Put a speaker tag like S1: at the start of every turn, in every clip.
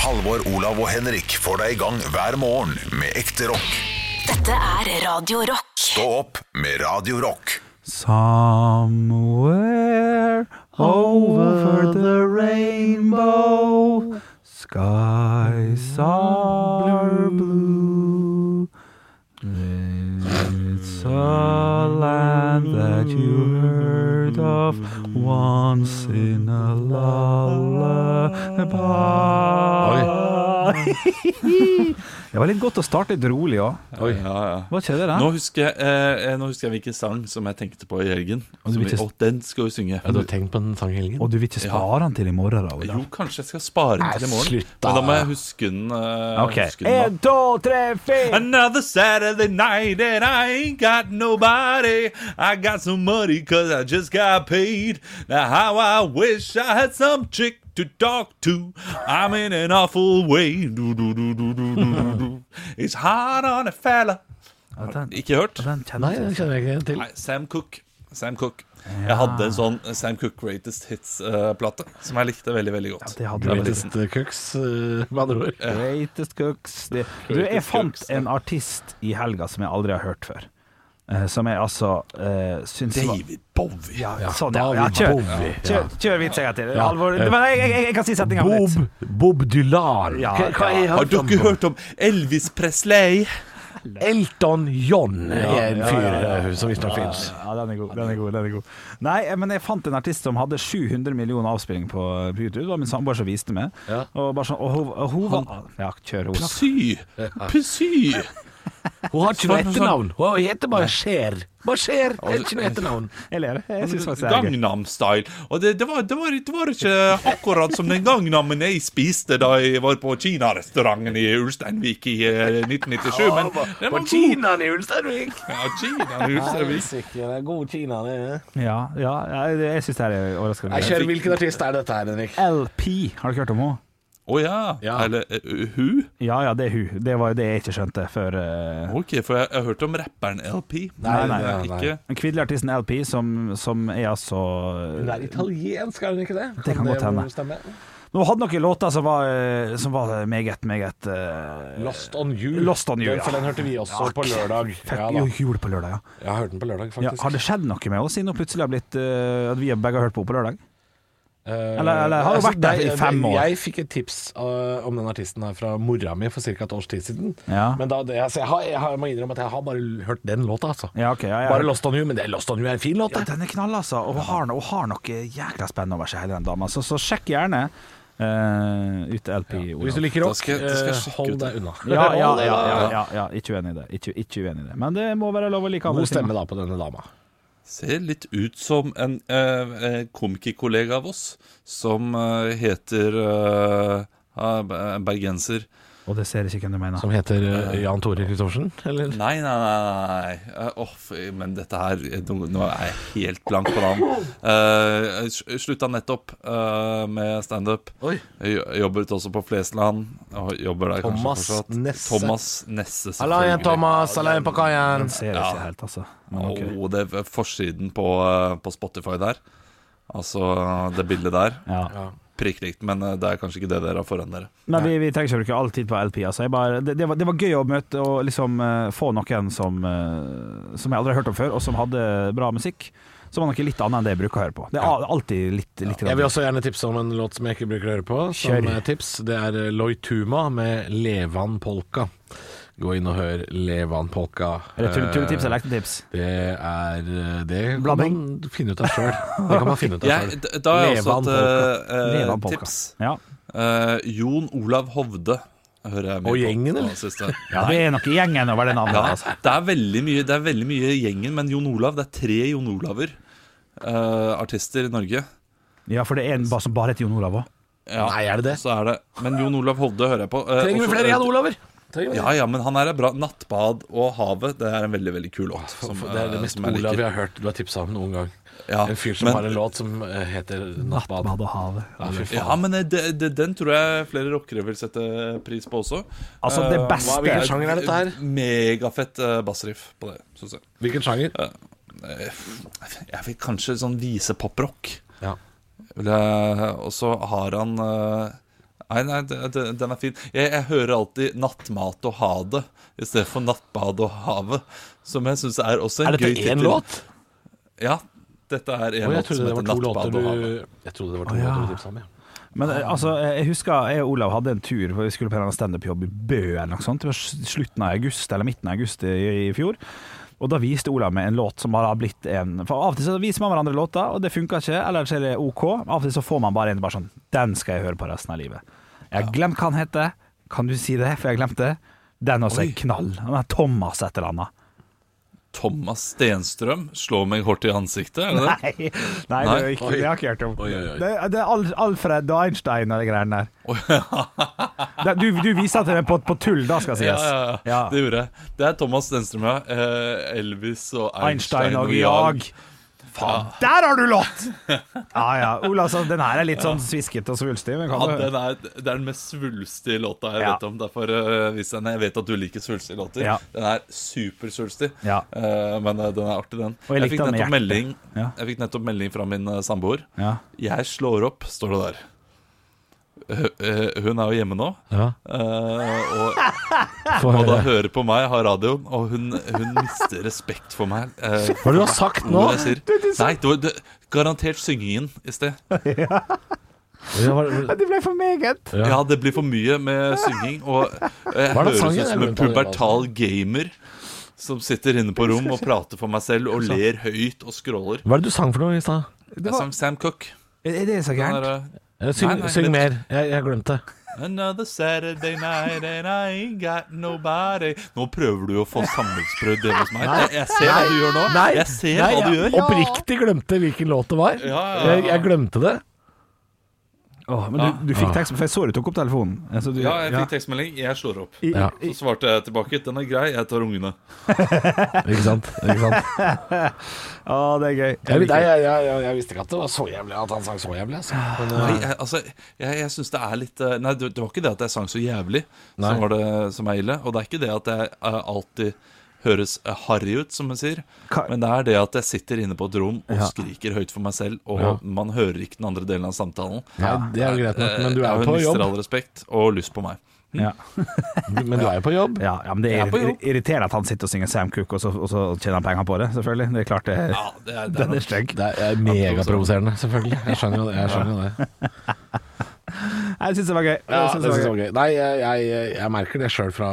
S1: Halvor, Olav og Henrik får deg i gang hver morgen med ekte rock.
S2: Dette er Radio Rock.
S1: Stå opp med Radio Rock.
S3: Somewhere over the rainbow, skies are blue. It's a land that you heard of once in a lullaby. det var litt godt å starte litt rolig òg.
S4: Oi. Ja, ja.
S3: Var ikke det det?
S4: Nå husker, jeg, eh, nå husker jeg hvilken sang som jeg tenkte på i helgen.
S3: du
S4: Som
S3: vil
S4: vi,
S3: ikke-
S4: å, den skal vi synge.
S5: Ja, du har tenkt på den sangen i helgen?
S3: Og du vil ikke spare den til i morgen? da, Olav?
S4: Jo, kanskje jeg skal spare den til i morgen.
S5: slutt da.
S4: Men da må jeg huske den. eh,
S3: Ok.
S4: huske den da.
S3: to, tre, fire!
S4: Another Saturday night and I ain't got nobody. I got some money cause I just got paid. Now how I wish I had some chick to talk to. I'm in an awful way. Do, do, do, do, do, do, do. It's hard on a fella. Ikke hørt?
S3: Den kjenner
S5: Nei, den
S3: jeg.
S5: kjenner jeg ikke til.
S4: Nei, Sam Cooke. Sam Cooke. Jeg hadde en sånn Sam Cooke Greatest Hits-plate eh, som jeg likte veldig veldig godt.
S3: Det hadde
S4: Da
S3: vi
S4: var
S3: litt.
S4: liten.
S5: Greatest Cooks, eh, med andre ord.
S3: Greatest Cooks. Det. Du, jeg fant en artist i helga som jeg aldri har hørt før. Eh, som jeg altså eh, syns var
S4: David Bowie.
S3: ja, sånn, ja. ja
S5: David
S3: kjør
S5: Bowie.
S3: kjør, kjør vits en gang til.
S5: Ja.
S3: Alvor, men jeg, jeg, jeg, jeg kan si setninga mi litt.
S5: Bob, Bob Dylan.
S3: Ja,
S5: Hva- hva
S3: ja.
S5: er han
S4: Har
S5: fram på?
S4: dere hørt om Elvis Presley?
S5: Elton John er en
S3: ja,
S5: fyr
S3: ja, ja.
S5: eh, som visstnok fins.
S3: Ja, den er god. Den er god, den er god. Nei, eh, men jeg fant en artist som hadde 700 millioner avspilling på på YouTube. Det var min samboer som viste meg.
S5: Ja.
S3: Og bare sånn, og hun, og hun var Ja, kjør hun.
S4: Psy. Psy.
S5: Hun har ikke noe
S4: Sånn, sånn.
S5: etternavn. Hun heter bare Cher. Bare Cher. Hun har ikke noe etternavn.
S3: Jeg ler. Jeg syns faktisk det er gøy.
S4: Gangnam Style. Og det, det, var, det, var, det var ikke akkurat som den gangnamen jeg spiste da jeg var på kinarestauranten i Ulsteinvik i eh, 1997, men den var god.
S5: i Ulsteinvik.
S4: Ja, Kina, i Ulsteinvik.
S5: God Kina, det er
S3: Ja, ja jeg, jeg syns det her er overraskende.
S5: Jeg
S3: gøy.
S5: kjører, Hvilken artist er dette her, Henrik?
S3: LP, har du ikke hørt om henne?
S4: Å ja.
S5: Ja.
S4: Eller eh, hun?
S3: Ja ja, det er hun. Det var jo det jeg ikke skjønte før eh,
S4: Ok, for jeg, jeg har hørt om rapperen LP.
S3: Nei, nei,
S4: Jeg har
S5: nei.
S4: Ikke.
S3: Den kvinnelige artisten LP, som, som er altså
S5: Hun er italiensk, er hun ikke det?
S3: Det kan godt hende.
S5: stemme?
S3: Nå hadde noen låter som var, eh, som var meget, meget eh,
S5: Lost on You.
S3: Lost on You,
S5: Den, for
S3: ja.
S5: den hørte vi også på lørdag.
S3: Fikk
S5: Ja,
S3: jo
S5: da.
S3: jul på lørdag, ja.
S5: Jeg hørte den på lørdag,
S3: ja.
S5: faktisk.
S3: Har det skjedd noe med henne siden hun plutselig har blitt eh, At vi begge har hørt på henne på lørdag?
S5: Eh,
S3: Eller- eller har hun vært der i
S5: det-
S3: fem år?
S5: Jeg fikk et tips eh, om den artisten her fra mora mi for ca. et års tid siden.
S3: Ja.
S5: Men da, det, altså, jeg, har, jeg, har, jeg må innrømme at jeg har bare hørt den låta, altså.
S3: Ja, ok. Ja, ja.
S5: Bare Lost on You, men det, Lost on You er en fin låt.
S3: Ja,
S5: det.
S3: den er knall, altså. Og hun har, hun har noe jækla spennende over seg, hele den dama. Så, så sjekk gjerne eh, ut LP.
S5: Hvis
S3: Olav.
S5: du liker
S4: Da
S5: rock,
S4: skal jeg- da skal jeg
S5: eh,
S4: sjekke ut
S5: hold
S4: det.
S5: deg unna.
S3: Ja, ja,
S5: Hold deg
S3: ja,
S5: unna.
S3: ja, ja, ja. Ikke uenig i det. Ikke, ikke uenig i det. Men det må være lov å like andre
S5: God
S3: ting, da.
S5: stemme da på denne dama.
S4: Ser litt ut som en eh, eh, komikerkollega av oss som eh, heter eh, ah, be- bergenser
S3: Og det ser ikke hvem du mener.
S5: Som heter eh, Jan Tore Christoffersen, eller?
S4: Nei, nei, nei. nei. Eh, åh, fy, men dette her eh, nå, nå er jeg helt blank på navn. Eh, jeg slutta nettopp eh, med standup.
S5: Oi.
S4: Jeg jo- Jobbet også på Flesland. Og jobber der
S5: Thomas
S4: kanskje fortsatt.
S5: Nesse.
S4: Thomas Nesse.
S5: Hallo igjen,
S4: selvfølgelig.
S5: Thomas. Hallo igjen på kaien.
S3: Den ser
S4: Ja.
S3: ikke helt, altså. Men
S4: Og
S3: ok.
S4: oh, det er forsiden på, eh, på Spotify der. Altså det bildet der.
S3: Ja.
S4: Prikklikt, men eh, det er kanskje ikke det dere har foran dere.
S3: Men vi, vi trenger ikke å bruke all tid på LP. Altså. Jeg bare, det, det, var, det var gøy å møte og liksom eh, få noen som, eh, som jeg aldri har hørt om før, og som hadde bra musikk. Som var noe litt annet enn det jeg bruker å høre på. Det er al- alltid litt, litt
S5: Jeg vil også gjerne tipse om en låt som jeg ikke bruker å høre på. Som
S3: Kjør.
S5: er tips, Det er eh, Loy Tuma med 'Levan Polka'. Gå inn og hør 'Levan Polka'.
S3: Er det tull-
S5: Eh,
S3: tulletips eller leknetips?
S5: Det er eh, Det kan man
S3: Blanding?
S5: finne ut av sjøl. Det kan man finne ut av
S4: Jeg,
S5: sjøl.
S4: d- da har jeg også
S5: Levan
S4: et eh,
S3: Leve
S4: eh,
S3: av polka.
S4: tips.
S3: Ja.
S4: Eh, Jon Olav Hovde hører jeg mye
S5: Og
S4: på
S5: gjengen,
S4: på
S5: eller?
S4: siste.
S3: ja, det er noe i gjengen over det navnet.
S4: Ja,
S3: Altså.
S4: det er veldig mye Det er veldig mye i gjengen, men Jon Olav Det er tre Jon Olaver eh, artister i Norge.
S3: Ja, for det er en ba- som bare heter Jon Olav òg.
S4: Ja,
S5: Nei, er det det?
S4: Så er det Men Jon Olav Hovde hører jeg på. eh,
S5: Trenger
S4: også-
S5: vi flere Jan Olaver? Trenger vi det?
S4: Ja, ja, men han her er bra. 'Nattbad og havet' Det er en veldig veldig kul låt. som,
S5: For det er
S4: eh,
S5: det mest
S4: som jeg
S5: Olav
S4: liker.
S5: vi har hørt du har tipsa om noen gang.
S4: Ja,
S5: En fyr som
S4: men-
S5: har en låt som eh, heter 'Nattbad'.
S3: Bad og havet.
S5: Ja, fy
S4: Ja,
S5: faen.
S4: men eh, det, det, den tror jeg flere rockere vil sette pris på også.
S3: Altså, det
S4: Eh,
S3: beste-
S4: hva-
S5: Hvilken sjanger er dette her?
S4: Megafett eh, bassriff på det, syns jeg. Eh,
S5: Hvilken sjanger?
S4: Jeg fikk kanskje sånn visepoprock.
S5: Ja.
S4: Vil jeg- Og så har han eh, Nei, nei, d- d- den er fin. Jeg, jeg hører alltid 'Nattmat og ha det' i stedet for 'Nattbad og havet', som jeg syns er også en
S5: Er
S4: gøy
S5: dette én
S4: tittel.
S5: låt?
S4: Ja. Dette er
S5: Å,
S4: en
S5: jeg
S4: låt som
S5: trodde det
S4: heter
S5: var to
S4: 'Nattbad
S5: låter
S4: og
S5: du
S4: havet'.
S5: Jeg trodde det var to
S3: Å, ja.
S5: låter du tipsa om. ja.
S3: Men eh, altså,
S5: Ah.
S3: jeg jeg husker jeg og Olav hadde en tur hvor vi skulle på en eller annen standup-jobb i Bø eller noe sånt. Det var s- slutten av august, eller midten av august i, i fjor. Og da viste Olav meg en låt som bare har blitt en For av og til så viser man hverandre låter, og det funker ikke, eller så er det OK. Av og til så får man bare en bare sånn Den skal jeg høre på resten av livet. Jeg har glemt hva han heter. Kan du si det, for jeg glemte det? Den også
S4: Oi.
S3: er knall. Han er Thomas et eller annet.
S4: Thomas Stenstrøm slår meg hardt i ansiktet, er det det?
S3: Nei, nei, det, er
S4: Nei.
S3: ikke,
S5: Oi.
S3: det har jeg ikke hørt om.
S5: Oi, oi, oi.
S3: Det, det er Al Alfred og Einstein og de greiene der. Det- Du, du viser til den på, på tull, da, skal sies.
S4: Ja, ja, ja, det gjorde jeg. Det er Thomas Stenstrøm, ja. Eh, Elvis og
S3: Einstein og jag. Faen, der har du låt! Ja, ja. Ola, altså, den her er litt sånn sviskete og svulstig. Men
S4: Ja,
S3: kan du
S4: den er, det er den mest svulstige låta jeg
S3: Ja.
S4: vet om. Derfor eh, viser jeg den. Jeg vet at du liker svulstige låter.
S3: Ja.
S4: Den er supersvulstig,
S3: Ja.
S4: Eh, men eh, den er artig, den.
S3: Og jeg likte
S4: fikk
S3: den med
S4: nettopp melding,
S3: hjertet. Ja.
S4: jeg fikk nettopp melding fra min eh, samboer.
S3: ja.
S4: 'Jeg slår opp', står det der. Eh, eh, Hun er jo hjemme nå,
S5: Ja.
S4: eh, og
S5: Få
S4: Og da
S5: høre.
S4: hører på meg, har radioen, og hun, hun mister respekt for meg. Eh,
S5: Hva er det du har sagt nå?
S4: ord jeg sier. Nei, det var det, garantert syngingen i sted.
S5: Ja, hva-
S3: Det ble for meget.
S5: Ja.
S4: Ja, det blir for mye med synging. Og eh, jeg
S5: Hva er det sangen?
S4: høres ut som
S5: Jeg
S4: en
S5: lurer på det,
S4: pubertal gamer som sitter inne på rom og prater for meg selv og ler høyt og skråler.
S5: hva er det du sang for noe i stad?
S4: Jeg sang Sam Cook.
S3: Er er det så
S4: Den
S3: gærent?
S4: der,
S5: Eh, Syng,
S4: Nei, nei,
S5: syng
S4: det-
S5: mer. Jeg, jeg glemte det.
S4: eh, Another Saturday night and I ain't got nobody Nå prøver du å få samlivsbrudd hjemme hos meg. Jeg, jeg ser hva du gjør nå.
S5: Nei,
S4: Jeg ser
S5: nei,
S4: hva du
S5: jeg
S4: gjør.
S5: Oppriktig glemte hvilken låt det var.
S4: Ja, ja, ja.
S5: Jeg, jeg glemte det.
S3: Åh, men du, du fikk tekst, for jeg så du tok opp telefonen. Altså, du,
S4: Ja, jeg fikk tekstmelding. Jeg slår opp.
S3: I,
S5: Ja.
S4: Så svarte jeg tilbake Den er grei, jeg tar ungene
S5: Ikke sant? Ikke sant?
S3: Å, det er gøy.
S5: Jeg,
S3: liker
S5: nei,
S3: det.
S5: jeg, jeg, jeg, jeg visste ikke at det var så jævlig at han sang så jævlig. Altså. Men,
S4: Nei,
S5: eh,
S4: jeg, altså, jeg, jeg synes det er litt eh, Nei, det, det var ikke det at jeg sang så jævlig
S5: Nei.
S4: Som var det som er ille Og det er ikke det at jeg eh, alltid høres eh, harry ut, som man sier
S3: Ka-
S4: Men det er det at jeg sitter inne på et rom Og
S3: Ja.
S4: skriker høyt for meg selv Og
S5: Ja.
S4: man hører ikke den andre delen av samtalen
S5: nei, det er jo greit nok, men du er
S4: Eh,
S5: jo
S4: ja, hun
S5: på
S4: mister
S5: jobb.
S4: all respekt og lyst på meg
S3: Ja.
S5: Men du er jo på jobb.
S3: Ja, ja, men det
S4: Jeg
S3: er
S4: er på jobb.
S3: irri- irriterende at han sitter og synger Sam Cooke, og så, og så tjener han penger på det, selvfølgelig. Det er klart det.
S4: Ja, det er, det er
S3: Den er
S4: nok
S3: stygg.
S5: Det er megaprovoserende, selvfølgelig. Jeg skjønner jo det. Jeg skjønner jo det.
S3: Jeg syns det var gøy. Jeg
S5: Ja,
S3: synes
S5: det
S3: det var gøy.
S5: synes jeg var gøy. Nei, jeg, jeg, jeg merker det sjøl fra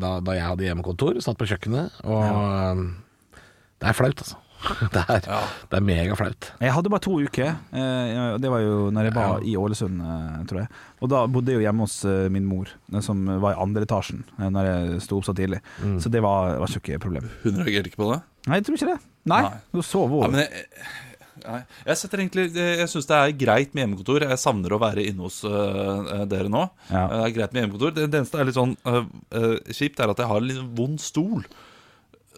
S5: da, da jeg hadde hjemmekontor, satt på kjøkkenet, og eh, det er flaut, altså. Det er, det er megaflaut.
S3: Jeg hadde bare to uker. eh, og Det var jo når jeg var i Ålesund, eh, tror jeg. Og da bodde jeg jo hjemme hos eh, min mor, eh, som var i andre etasjen eh, når jeg sto opp så tidlig. Så det var, var ikke et problem.
S4: Hun reagerte ikke på det
S3: Nei, jeg tror ikke det. Nei,
S4: Nei.
S3: du sov
S4: Ja,
S3: over.
S4: men jeg, eh, nei, jeg setter egentlig Jeg syns det er greit med hjemmekontor. Jeg savner å være inne hos øh, dere nå.
S3: Ja.
S4: Det er greit med hjemmekontor Det det eneste er litt sånn øh, øh, kjipt, er at jeg har en litt vond stol.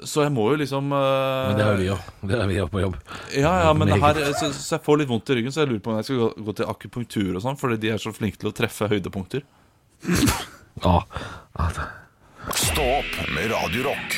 S4: Så jeg må jo liksom øh,
S5: Men det har vi jo. Det har vi jo på jobb.
S4: Ja, ja, men
S5: Meget.
S4: her, så, så jeg får litt vondt i ryggen, så jeg lurer på om jeg skal gå, gå til akupunktur og sånn, fordi de er så flinke til å treffe høydepunkter.
S5: Ja. Altså.
S1: Stå opp med Radio Rock.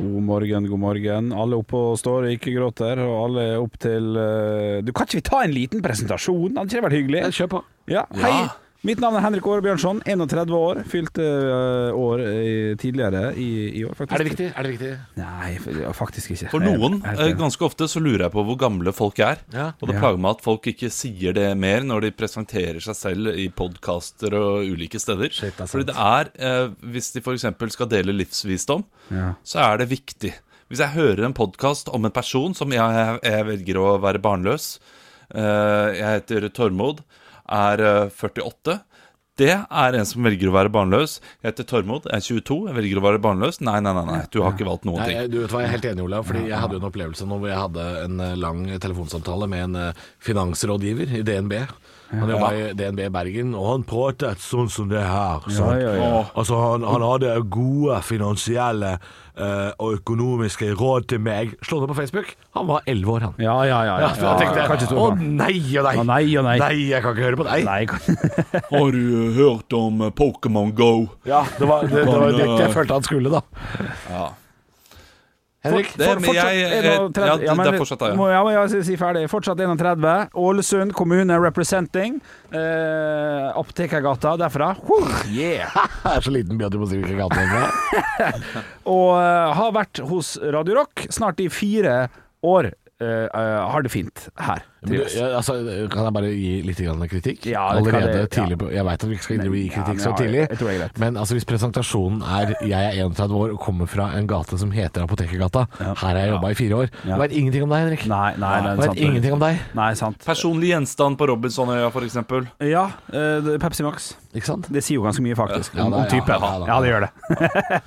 S3: God morgen, god morgen. Alle oppe og står, ikke gråter. Og alle er opp til eh, Du, kan ikke vi ta en liten presentasjon? Hadde ikke det vært hyggelig?
S5: Ja, Kjør på.
S3: Ja, hei! Mitt navn er Henrik Åre Bjørnson, 31 år. Fylte eh, år eh, tidligere i, i år, faktisk.
S5: Er det viktig? Er det viktig?
S3: Nei, f- ja, faktisk ikke.
S4: For noen,
S3: Jeg-
S4: øh,
S3: jeg-
S4: ganske ofte, så lurer jeg på hvor gamle folk er.
S5: Ja.
S4: Og det
S3: Ja.
S4: plager meg at folk ikke sier det mer når de presenterer seg selv i podkaster og ulike steder.
S5: Shit, det er sant.
S4: Fordi det er, eh, hvis de f.eks. skal dele livsvisdom,
S3: Ja.
S4: så er det viktig. Hvis jeg hører en podkast om en person som jeg, jeg, jeg velger å være barnløs eh, Jeg heter Tormod, er eh, 48. Det er en som velger å være barnløs. Jeg heter Tormod, jeg er 22, jeg velger å være barnløs. Nei, nei, nei, nei du har ikke valgt noen
S5: Nei,
S4: ting.
S5: jeg- du vet hva, Jeg er helt enig, Olav. Fordi Jeg hadde jo en opplevelse nå hvor jeg hadde en eh, lang telefonsamtale med en eh, finansrådgiver i DNB. Han jobba i DNB Bergen, og han pratet sånn som det her.
S3: Ja,
S5: sant?
S3: ja, ja.
S5: Altså, han, han hadde gode finansielle eh, og økonomiske råd til meg. Slå det på Facebook. Han var elleve år, han.
S3: Ja, ja, ja. ja.
S5: Ja, så jeg
S3: Kan ikke
S5: tenkte
S3: stå
S5: Å
S3: på den.
S5: nei og nei.
S3: Å, nei, å, nei.
S5: jeg kan ikke høre på deg.
S3: Nei, kan-
S4: Har du eh, hørt om Pokémon Go?
S5: eh, Ja, det var det, det, var det jeg følte han skulle, da. Henrik?
S4: Det- men jeg- eh, ja, det- det er fortsatt da, ja.
S3: ja. Må, ja, må jeg si, si ferdig. Fortsatt 31. Ålesund kommune representing. Eh, Apotekergata derfra. Woo, yeah.
S5: Jeg er så liten by at du må si hvilken gate det er.
S3: Og eh, har vært hos Radio Rock snart i fire år. Eh, eh, har det fint her.
S5: Men du,
S3: Trives.
S5: ja, altså, kan jeg bare gi litt grann kritikk?
S3: Ja, det kan
S5: Allerede
S3: det- ja.
S5: tidlig på Jeg veit at vi ikke skal inn- gi
S3: Men- ja, men
S5: kritikk så
S3: jeg-
S5: tidlig,
S3: jeg tror det er greit.
S5: men altså, hvis presentasjonen er 'jeg er 31 år og kommer fra en gate som heter Apotekergata', her har jeg jobba i fire år
S3: Ja.
S5: Jeg veit ingenting om deg, Henrik.
S3: Nei, nei, det er
S5: Jeg
S3: sant.
S5: vet ingenting om deg,
S3: Nei, sant.
S4: Personlig gjenstand på Robinsonøya, for eksempel.
S3: Ja, eh, det- Pepsi Max.
S5: ikke sant?
S3: Det sier jo ganske mye, faktisk.
S5: Ja,
S3: om, om
S5: det- ja,
S3: typen.
S5: ja, ja, ja.
S3: Ja, det gjør det.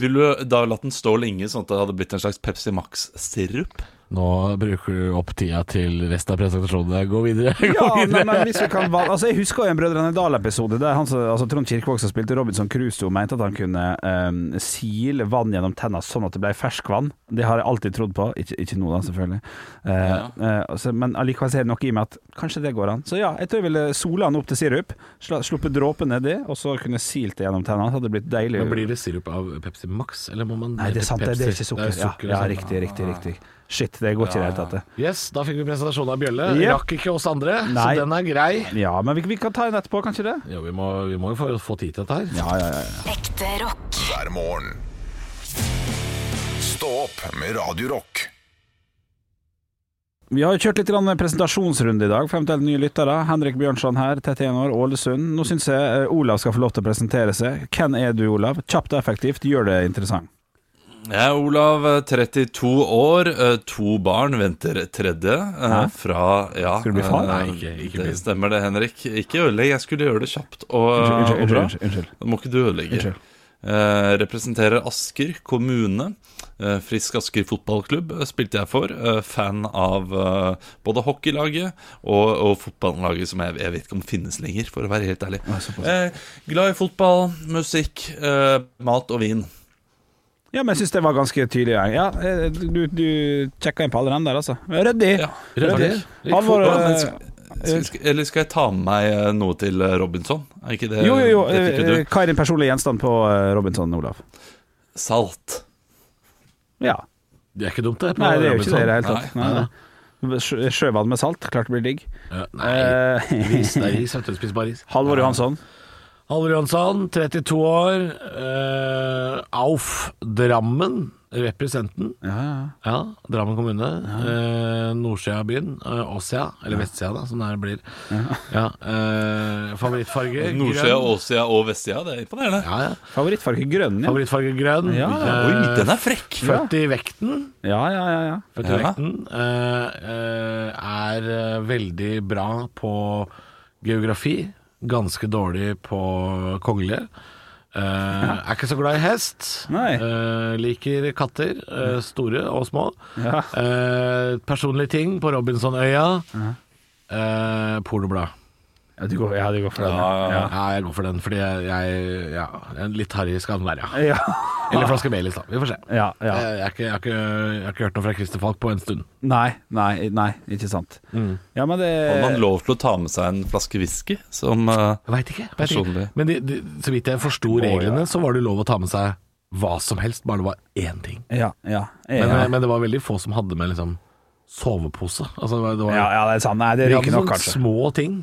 S4: Ville du eh, da latt den stå lenge, sånn at det hadde blitt en slags Pepsi Max-sirup?
S5: Nå bruker du opp tida til resten av presentasjonen. Gå videre. Gå
S3: Ja, nei,
S5: videre.
S3: men hvis vi kan valg- Altså Jeg husker jo en Brødrene Dal-episode der han, som- altså, Trond Kirkevåg som spilte Robinson Crusoe, mente at han kunne ehm, sile vann gjennom tenna sånn at det ble ferskvann. Det har jeg alltid trodd på. Ikke, ikke nå, da, selvfølgelig. Eh, eh, altså, men allikevel så er det noe i meg at kanskje det går an. Så ja, jeg tror jeg ville sola han opp til sirup, sla- sluppet dråpen nedi, og så kunne silt det gjennom tenna. Så hadde det blitt deilig.
S5: Men blir det sirup av Pepsi Max, eller må man
S3: Nei, det er sant, det,
S5: Pepsi-
S3: det er ikke sukker.
S5: Det er Ah. sukker
S3: ja, ja,
S5: og sånt.
S3: riktig, riktig, riktig. Shit, det går ikke i det hele tatt. det.
S5: Yes, da fikk vi presentasjonen av Bjølle.
S3: Yep.
S5: Rakk ikke oss andre,
S3: Nei.
S5: så den er grei.
S3: Ja, men vi, vi kan ta en etterpå, kanskje det?
S5: Jo, vi må, vi må jo få, få tid til dette her.
S2: Ekte rock.
S1: hver morgen. Stå opp med Radio Rock.
S3: Vi har jo kjørt litt grann presentasjonsrunde i dag for eventuelt nye lyttere. Henrik Bjørnstrand her, 31 år, Ålesund. Nå syns jeg eh, Olav skal få lov til å presentere seg. Hvem er du, Olav? Kjapt og effektivt, gjør det interessant.
S4: Jeg er Olav, eh, 32 år, eh, to barn, venter tredje. eh, Fra ja,
S3: Skal du bli far?
S4: eh,
S5: Nei, ikke- ikke bli.
S4: det stemmer det, Henrik. Ikke ødelegg, jeg skulle gjøre det kjapt og, eh,
S3: Unnskyld,
S4: og bra.
S3: unnskyld, unnskyld.
S4: Det må ikke du ødelegge.
S3: Unnskyld.
S4: Eh, representerer Asker kommune. Eh, Frisk Asker fotballklubb eh, spilte jeg for. Eh, fan av eh, både hockeylaget og, og fotballaget som jeg, jeg vet ikke om finnes lenger, for å være helt ærlig. Eh, glad i fotball, musikk, eh, mat og vin.
S3: Ja, men jeg syns det var ganske tydelig. jeg. Ja, eh, du, du sjekka inn på alle de der, altså. Ryddig!
S4: Ja.
S5: Ryddig.
S3: Takk. Halvor
S4: Ja, men
S3: eh,
S4: skal, skal, eller skal jeg ta med meg eh, noe til eh, Robinson? Er ikke det
S3: Jo, jo, jo.
S4: Det fikk
S3: eh,
S4: jo du.
S3: Hva er din personlige gjenstand på eh, Robinson, Olav?
S4: Salt.
S3: Ja.
S5: Det er ikke dumt, det. sånn. på
S3: Nei, det er jo ikke det i det
S5: Robinson.
S3: hele tatt. Nei, nei. Sjø- Sjøvann med salt, klart det blir digg.
S5: Ja, Nei,
S3: Eh,
S5: ris. Det er ris. vet du, Spis bare ris.
S3: Halvor Johansson.
S5: Halvor Johansson, 32 år. eh, Auf Drammen, representen.
S3: Ja, ja.
S5: Ja, Drammen kommune. Eh, Nordsida av byen. Eh, Åssida, eller Vestsida, da, som det her blir. Ja, eh, favorittfarge
S4: Nordsida, Åssida og Vestsida. Det er imponerende.
S5: Ja, ja.
S3: Favorittfarge grønn, ja.
S5: Favorittfarge grønn.
S3: Ja.
S4: Oi,
S5: Eh,
S4: den er frekk!
S5: Født i vekten.
S3: Ja, ja, ja, ja.
S5: Født i
S4: Ja.
S5: vekten. eh, eh, er eh, veldig bra på geografi. Ganske dårlig på kongelige. Eh, er ikke så glad i hest.
S3: Nei.
S5: Eh, liker katter, eh, store og små.
S3: Ja.
S5: Eh, personlige ting på Robinsonøya. Eh, pornoblad.
S3: Ja, du går, ja, du går for den.
S4: Ja, ja,
S3: Ja,
S4: ja.
S5: Ja, jeg går for den, fordi jeg, jeg ja, en Litt harry skal den være, ja.
S3: ja.
S5: Eller flaske Baileys, da. Vi får se.
S3: ja, ja.
S5: Eh, Jeg, har ikke, jeg, har ikke, jeg har ikke hørt noe fra Christer Falk på en stund.
S3: Nei, nei, nei, ikke sant. Ja, men det
S4: Hadde man lov til å ta med seg en flaske whisky som eh,
S5: Jeg Veit ikke. vet
S4: Personlig.
S5: ikke. Men de, de, så vidt jeg forsto reglene, så var det lov å ta med seg hva som helst, bare det var én ting.
S3: Ja, ja.
S5: Men,
S3: ja.
S5: men det var veldig få som hadde med liksom sovepose. Altså, det var, det var,
S3: ja, ja, sånn det er sant. Nei, det
S5: de
S3: ryker nok,
S5: hadde sånne
S3: kanskje.
S5: små ting.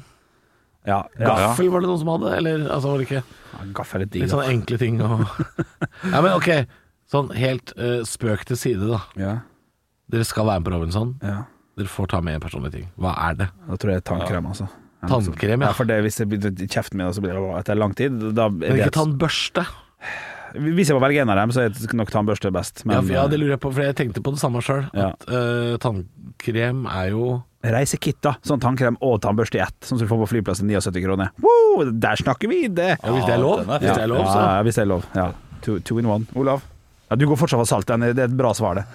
S3: Ja, ja, ja.
S5: Gaffel var det noen som hadde, eller altså, var det ikke
S3: Gaffel er digg.
S5: Litt
S3: da.
S5: sånne enkle ting og Ja, men ok. Sånn helt eh, spøk til side, da.
S3: Ja,
S5: Dere skal være med på Robinson.
S3: ja.
S5: Dere får ta med en personlig ting. Hva er det?
S3: Da tror jeg tannkrem, altså. Ja,
S5: Tannkrem,
S3: Ja,
S5: ja.
S3: for det, hvis det blir i kjeften min, og så blir det etter lang tid da er
S5: Men
S3: det,
S5: ikke tannbørste.
S3: Hvis jeg må velge en av dem, så er nok tannbørste best.
S5: Ja,
S3: Men eh,
S5: for- ja, det lurer jeg på, for jeg tenkte på det samme sjøl.
S3: Ja.
S5: At eh, tannkrem er jo
S3: reisekitt, da. Sånn tannkrem og tannbørste i ett, sånn som du får på flyplassen. 79 kroner. Wow, der snakker vi det!
S5: Ja, hvis det er lov,
S4: den er
S5: hvis det er lov så.
S3: Ja, ja, hvis det er lov. Ja. Two, two in one. Olav? Ja, du går fortsatt for salt. den er- Det er et bra svar, det.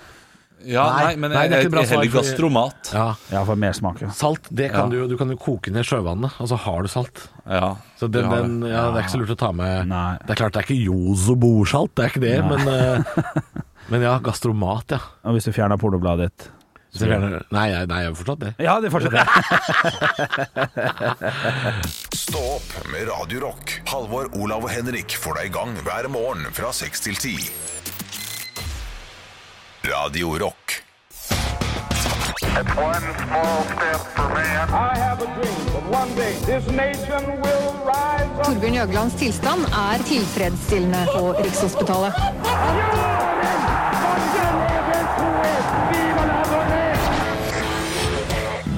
S4: Ja, nei,
S5: Nei,
S4: men
S5: nei, det er
S4: jeg,
S5: ikke bra
S4: jeg
S5: svar,
S4: heller
S5: fordi-
S4: gastromat.
S5: Ja.
S3: Ja, for mer smak. Ja.
S5: Salt, det kan
S4: Ja.
S5: du jo Du kan jo koke ned sjøvannet, og så har du salt.
S4: Ja,
S5: Så den,
S4: du har
S5: den,
S4: det.
S5: ja, det er ikke så lurt å ta med
S3: Nei.
S5: Det er klart det er ikke Yozo-bordsalt, det er ikke det, men, eh, men ja, gastromat, ja.
S3: Og hvis du fjerner pornobladet ditt
S5: Så gjerne- Nei, jeg- nei, jeg gjør fortsatt det.
S3: Ja, det fortsetter jeg.
S1: Stå opp med Radio Rock. Halvor, Olav og Henrik får deg i gang hver morgen fra 6 til 10. Radio Rock.
S6: It's one small step for man.
S7: I have a dream that one day this nation will rise up.
S8: Torbjørn Jøglands tilstand er tilfredsstillende på Rikshospitalet.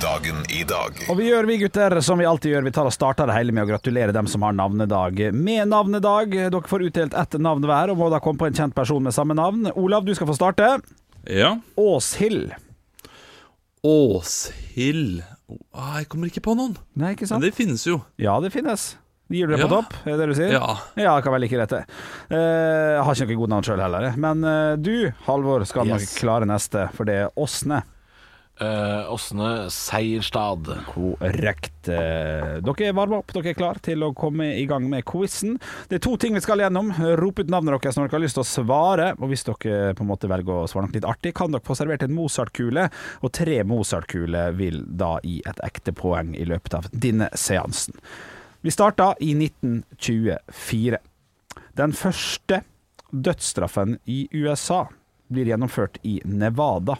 S1: Dagen i dag.
S3: Og vi gjør vi gutter som vi alltid gjør. Vi tar og starter det hele med å gratulere dem som har navnedag med navnedag. Dere får utdelt ett navn hver, og må da komme på en kjent person med samme navn. Olav, du skal få starte.
S4: Ja.
S3: Åshild.
S4: Åshild ah, Jeg kommer ikke på noen.
S3: Nei, ikke
S4: Men
S3: sant?
S4: det finnes jo.
S3: Ja, det finnes. Gir du det på
S4: Ja.
S3: topp, er det det du sier?
S4: Ja.
S3: Ja, det kan være like rett, det. Eh, jeg har ikke noe godt navn sjøl heller, jeg. men eh, du, Halvor, skal nok
S5: Yes.
S3: klare neste, for det er Åsne.
S5: Eh, Åsne Seierstad.
S3: Korrekt. Eh, Dere er varma opp, dere er klar til å komme i gang med quizen. Det er to ting vi skal gjennom. Rop ut navnet deres når dere har lyst til å svare. Og hvis dere eh, på en måte velger å svare noe litt artig, kan dere få servert en Mozart-kule. Og tre Mozart-kuler vil da gi et ekte poeng i løpet av denne seansen. Vi starta i 1924. Den første dødsstraffen i USA blir gjennomført i Nevada.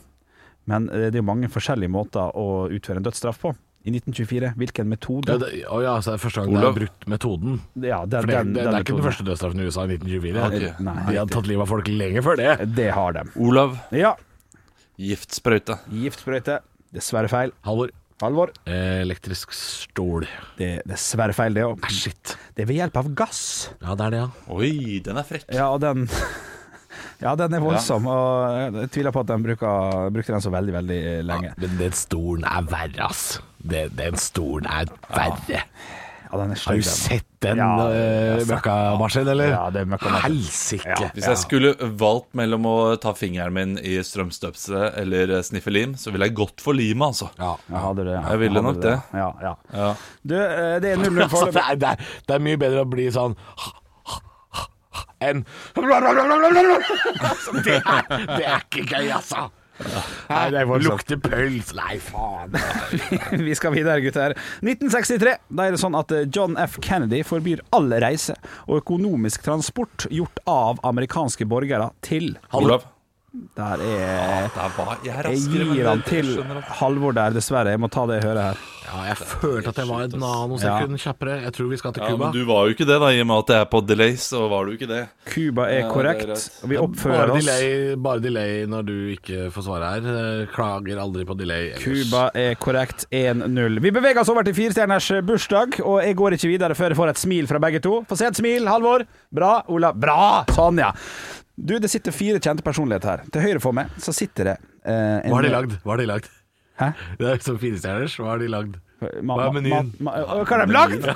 S3: Men eh, det er jo mange forskjellige måter å utføre en dødsstraff på. I 1924, hvilken
S5: Ja,
S3: metode?
S5: det, å ja, så er det første gang det
S4: Olav.
S5: er brutt metoden.
S3: Ja, den,
S5: For det, det, det er ikke den
S3: metoden.
S5: første dødsstraffen i USA i 1924.
S4: Ok.
S3: Nei,
S5: De hadde tatt livet av folk lenge før det.
S3: Det har de.
S4: Olav.
S3: Ja.
S4: Giftsprøyte.
S3: Giftsprøyte. Dessverre feil.
S5: Halvor.
S3: Halvor?
S5: eh, Elektrisk stol.
S3: Det er dessverre feil, det òg.
S5: Ah, Shit.
S3: Det er ved hjelp av gass.
S5: Ja, det er det, ja.
S4: Oi, den er frekk.
S3: Ja, og den Ja, den er voldsom, og eh, jeg tviler på at den bruker, brukte den så veldig, veldig lenge.
S5: Ja, Men den stolen er verre, ass. Den, den stolen er verre.
S3: Ja, den altså. er stygg, den.
S5: Har du sett den
S3: Ja,
S5: ja,
S3: jeg har sett
S5: møkkamaskin, eller?
S3: Ja, det er møkkamaskin.
S5: Helsike.
S3: Ja.
S4: Hvis jeg skulle valgt mellom å ta fingeren min i strømstøpselet eller eh, sniffe lim, så ville jeg gått for limet, altså.
S5: Ja.
S3: Ja, hadde du det, ja.
S4: Jeg ville
S3: Hadde
S4: nok
S3: du
S4: det.
S3: Ja, ja.
S4: Ja.
S3: Du, eh, det er null null
S5: Altså, det,
S3: foreløpig.
S5: er, det, er, det er mye bedre å bli sånn enn Altså, det, er, det er ikke gøy, altså. Nei, det er Lukter pøls. Nei, faen.
S3: Vi skal videre, gutter. 1963. Da er det sånn at eh, John F. Kennedy forbyr all reise og økonomisk transport gjort av amerikanske borgere til
S4: Olav.
S3: Der er
S4: Der var jeg
S3: Jeg
S4: raskere. men
S3: gir han
S4: jeg
S3: til
S4: skjønner at-
S3: Halvor der, dessverre. Jeg må ta det høret her.
S5: Ja, jeg følte at jeg var et nanosekund kjappere. Jeg tror vi skal til
S4: Ja,
S5: Cuba.
S4: men du var jo ikke det, da, i og med at jeg er på delay, så var du ikke det.
S3: Cuba er
S4: Ja, det er
S3: korrekt.
S4: rett.
S3: Og vi
S5: Bare
S3: oppfører oss
S5: delay, bare delay når du ikke får svare her. Eh, Klager aldri på delay ellers.
S3: Cuba er korrekt 1-0. Vi beveger oss over til firestjerners eh, bursdag, og jeg går ikke videre før jeg får et smil fra begge to. Få se et smil, Halvor. Bra, Ola. Bra! Sånn, ja. Du, det sitter fire kjente personligheter her. Til høyre for meg så sitter det eh, en
S5: Hva har de lagd? Hva har de lagd?
S3: Hæ?
S5: Det er som firestjerners. Hva har de lagd?
S3: Ma,
S5: Hva
S3: ma-
S5: er menyen?
S3: ma- ma- Hva har de lagd?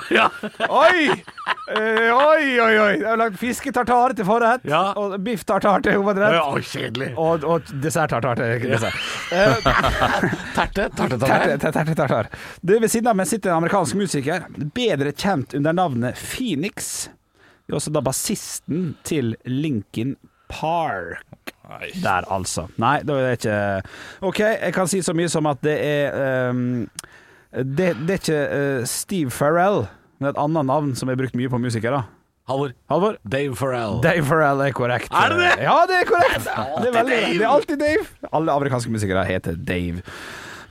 S3: Oi! Eh, oi, oi, oi. De har lagd fisketartar til forrett,
S5: Ja.
S3: og biff tartar til hovedrett.
S5: Å, kjedelig.
S3: Og, og dessert-tartar til dessert. Eh,
S5: Terte? Terte,
S3: Terte,
S5: terte.
S3: terte, terte, tartar. Du, ved siden av meg sitter en amerikansk musiker, bedre kjent under navnet Phoenix. Det er også da bassisten til Linkin Park.
S4: Nei.
S3: Der, altså. Nei, det er ikke OK, jeg kan si så mye som at det er ehm, det, det er ikke eh, Steve Farrell, men et annet navn som er brukt mye på musikere.
S5: Halvor.
S3: Halvor?
S5: Dave Farrell.
S3: Dave Farrell er korrekt.
S5: Er det det?
S3: Ja, det er korrekt. Det er, veldig,
S5: Dave.
S3: det er alltid Dave. Alle amerikanske musikere heter Dave.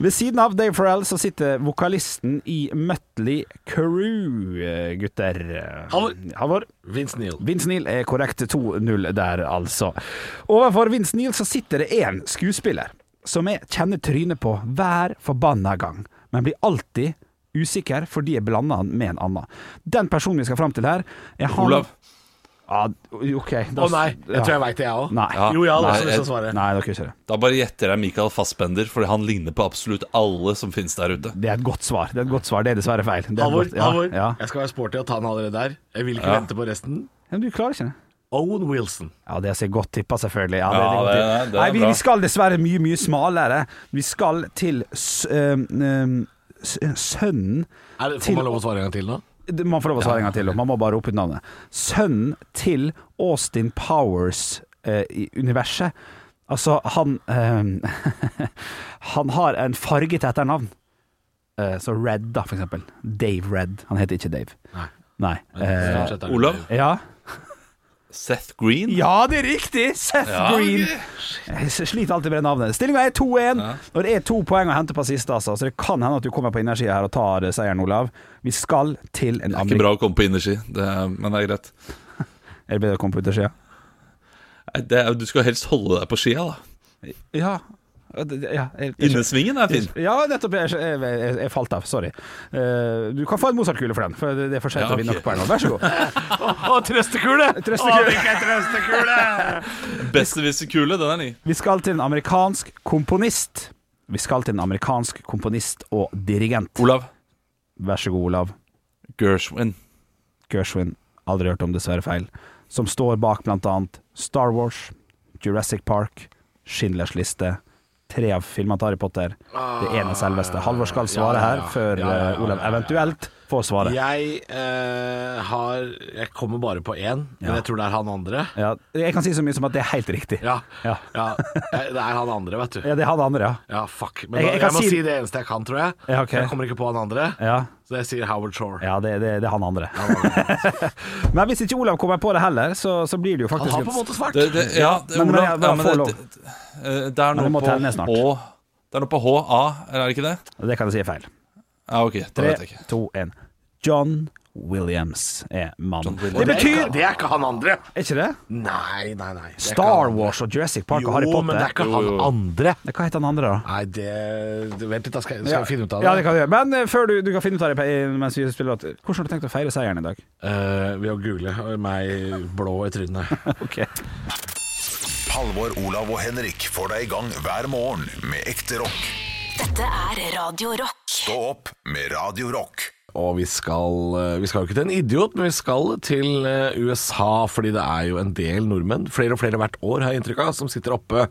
S3: Ved siden av Dave Farrell så sitter vokalisten i Mutley Crew, gutter.
S5: Halvor.
S3: Halvor.
S5: Vince Neil.
S3: Vince Neil er korrekt 2-0 der, altså. Overfor Vince Neil så sitter det én skuespiller som jeg kjenner trynet på hver forbanna gang, men blir alltid usikker fordi jeg blander han med en annen. Den personen vi skal fram til her jeg har
S4: Olav.
S3: Ja, OK.
S5: Å nei, jeg tror jeg veit det, jeg òg.
S3: Nei.
S4: Ja.
S5: Jo, jeg hadde
S4: Nei,
S5: også lyst til
S4: jeg-
S5: å svare.
S3: Nei, dere gjør ikke det.
S4: Da bare gjetter jeg Michael Fassbender, fordi han ligner på absolutt alle som finnes der ute.
S3: Det er et godt svar. Det er et godt svar. Det er dessverre feil. Det er et
S5: Halvor,
S3: godt- ja,
S5: Halvor.
S3: Ja.
S5: Jeg skal være sporty og ta den allerede der. Jeg vil ikke
S4: Ja.
S5: vente på resten.
S3: Men du klarer ikke det.
S5: Owen Wilson.
S3: Ja, det er så godt tippa, selvfølgelig. Ja,
S4: Ja,
S3: godt
S4: det-
S3: tippa.
S4: det er
S3: Nei, vi,
S4: bra.
S3: vi skal dessverre mye, mye smalere. Vi skal til s øhm, øhm, s sønnen
S5: Er det,
S3: Til-
S5: får man lov å svare en gang til nå?
S3: Det- Man får lov å svare en gang til, og man må bare rope ut navnet. Sønnen til Austin Powers eh, i universet. Altså, han øhm, Han har en farget etternavn. Eh, så Red, da, for eksempel. Dave Red. Han heter ikke Dave.
S5: Nei.
S3: Nei.
S5: Men
S3: Eh,
S5: stort sett er det
S4: Olav?
S5: Dave.
S3: ja.
S4: Seth Green?
S3: Ja, det er riktig! Seth
S4: Ja.
S3: Green. Jeg sliter alltid med det navnet. Stillinga er 2-1. Og det er to poeng å hente på siste, altså. så det kan hende at du kommer på innersida her og tar eh, seieren, Olav. Vi skal til en
S4: Det er ikke
S3: amerik-
S4: bra å komme på innerski, det er, men det er greit.
S3: Er det bedre å komme på utersida?
S4: Nei, Det er, du skal helst holde deg på skia, da.
S3: Ja. Det- det- ja, jeg- jeg-
S4: Innesvingen er fin.
S3: Ja, nettopp. Jeg, jeg, jeg, jeg falt av. Sorry. Eh, du kan få en Mozart-kule for den, for det, det er for sent
S4: Ja,
S3: å vinne
S4: ok.
S3: nok poeng nå. Vær så god.
S5: Å, trøstekule!
S3: Trøstekule.
S4: Besserwisser-kule, den er ny.
S3: Vi skal til en amerikansk komponist. Vi skal til en amerikansk komponist og dirigent.
S4: Olav
S3: Vær så god, Olav
S4: Gershwin.
S3: Gershwin. Aldri hørt om, dessverre feil. Som står bak bl.a. Star Wars, Jurassic Park, Schindlers liste. Tre av filmene til Harry Potter. Det ene selveste. Halvor skal svare
S5: Ah, Ja, ja,
S3: her,
S5: ja.
S3: før
S5: Ja, ja, ja,
S3: eh, Olav
S5: ja, ja, ja.
S3: eventuelt får svaret.
S5: Jeg eh, har Jeg kommer bare på én,
S3: Ja.
S5: men jeg tror det er han andre.
S3: Ja, jeg kan si så mye som at det er helt riktig.
S5: Ja.
S3: Ja.
S5: ja. Eh, Det er han andre, vet du.
S3: Ja, det hadde andre, ja.
S5: Ja, fuck. Men
S3: Jeg-
S5: da,
S3: jeg
S5: jeg,
S3: kan
S5: må
S3: si-
S5: si det eneste jeg kan, tror jeg.
S3: Ja, ok.
S5: Jeg kommer ikke på han andre,
S3: Ja,
S5: så jeg sier Howard Shore.
S3: ja det, det, det er han andre. Men hvis ikke Olav kommer på det heller, så, så blir det jo
S5: Han
S3: faktisk
S5: har på en måte svart.
S4: Det, det, ja, det,
S3: Men- men jeg-
S4: Olav
S3: jeg
S4: ja, men
S3: får
S4: det,
S3: lov.
S4: det, eh, det er
S3: Men
S4: noe
S3: du må
S4: på
S3: telle ned snart.
S4: H Det er noe på HA, er det ikke det?
S3: Det kan jeg si er feil.
S4: Ja, ok, det
S3: Tre,
S4: vet jeg ikke.
S3: to, en. John Williams er mannen. Det
S4: Williams.
S5: Det er
S3: betyr
S5: ikke- Det er ikke han andre!
S3: Er ikke det?
S5: Nei, nei, nei. det er ikke han
S3: Star
S5: andre.
S3: Wars og Jurassic Park
S5: Jo,
S3: og Harry
S5: men det er
S3: Potter.
S5: ikke han andre.
S3: Hva heter han andre, da?
S5: Nei, det du- Vent litt, da skal, jeg- skal jeg finne ut av det.
S3: Ja, det kan du gjøre. Men eh, før du, du kan finne ut av det eh, mens vi spiller låt, hvordan har du tenkt å feire seieren i dag?
S5: Eh, ved å google og meg blå i trynet.
S3: Ok.
S1: Halvor, Olav og Henrik får deg i gang hver morgen med ekte rock.
S2: Dette er Radio Rock.
S1: Stå opp med Radio Rock.
S5: Og vi skal, eh, vi skal jo ikke til en idiot, men vi skal til eh, USA, fordi det er jo en del nordmenn, flere og flere hvert år har jeg inntrykk av, som sitter oppe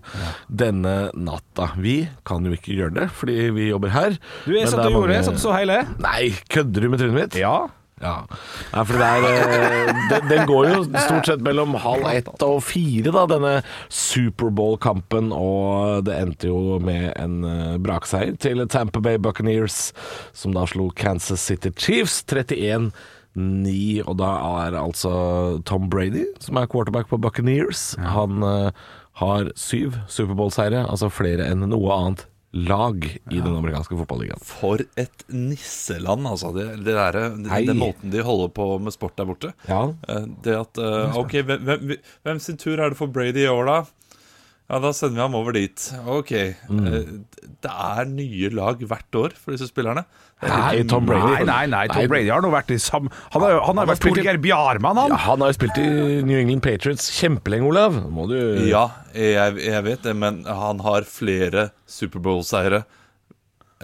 S5: denne natta. Vi kan jo ikke gjøre det, fordi vi jobber her.
S3: Du, jeg
S5: men
S3: satt
S5: det er
S3: og gjorde det.
S5: mange-
S3: Jeg satt og så hele.
S5: Nei, kødder du med trynet mitt?
S3: Ja.
S5: Ja. Nei, for det er eh, den, den går jo stort sett mellom halv ett og fire, da, denne Superbowl-kampen. Og det endte jo med en eh, brakseier til Tampa Bay Buccaneers, som da slo Kansas City Chiefs 31-9. Og da er altså Tom Brady, som er quarterback på Buccaneers, han eh, har syv Superbowl-seire, altså flere enn noe annet lag i den amerikanske fotballigaen.
S4: For et nisseland, altså. Det, det der, det,
S5: Hei.
S4: den måten de holder på med sport der borte.
S5: Ja.
S4: Eh, Det at eh, OK, hvem, hvem, hvem sin tur er det for Brady i år, da? Ja, da sender vi ham over dit. OK. Eh, Det er nye lag hvert år for disse spillerne. Det er
S5: Nei,
S4: helt
S5: Tom Brady.
S3: Nei, nei, nei. Tom
S5: Nei.
S3: Brady har nå vært i sam... Han har jo han har
S5: har
S3: vært Torgeir Bjarmann, han.
S5: Ja, han har jo spilt i New England Patriots kjempelenge, Olav. Nå Må du
S4: Ja, jeg, jeg vet det, men han har flere Superbowl-seiere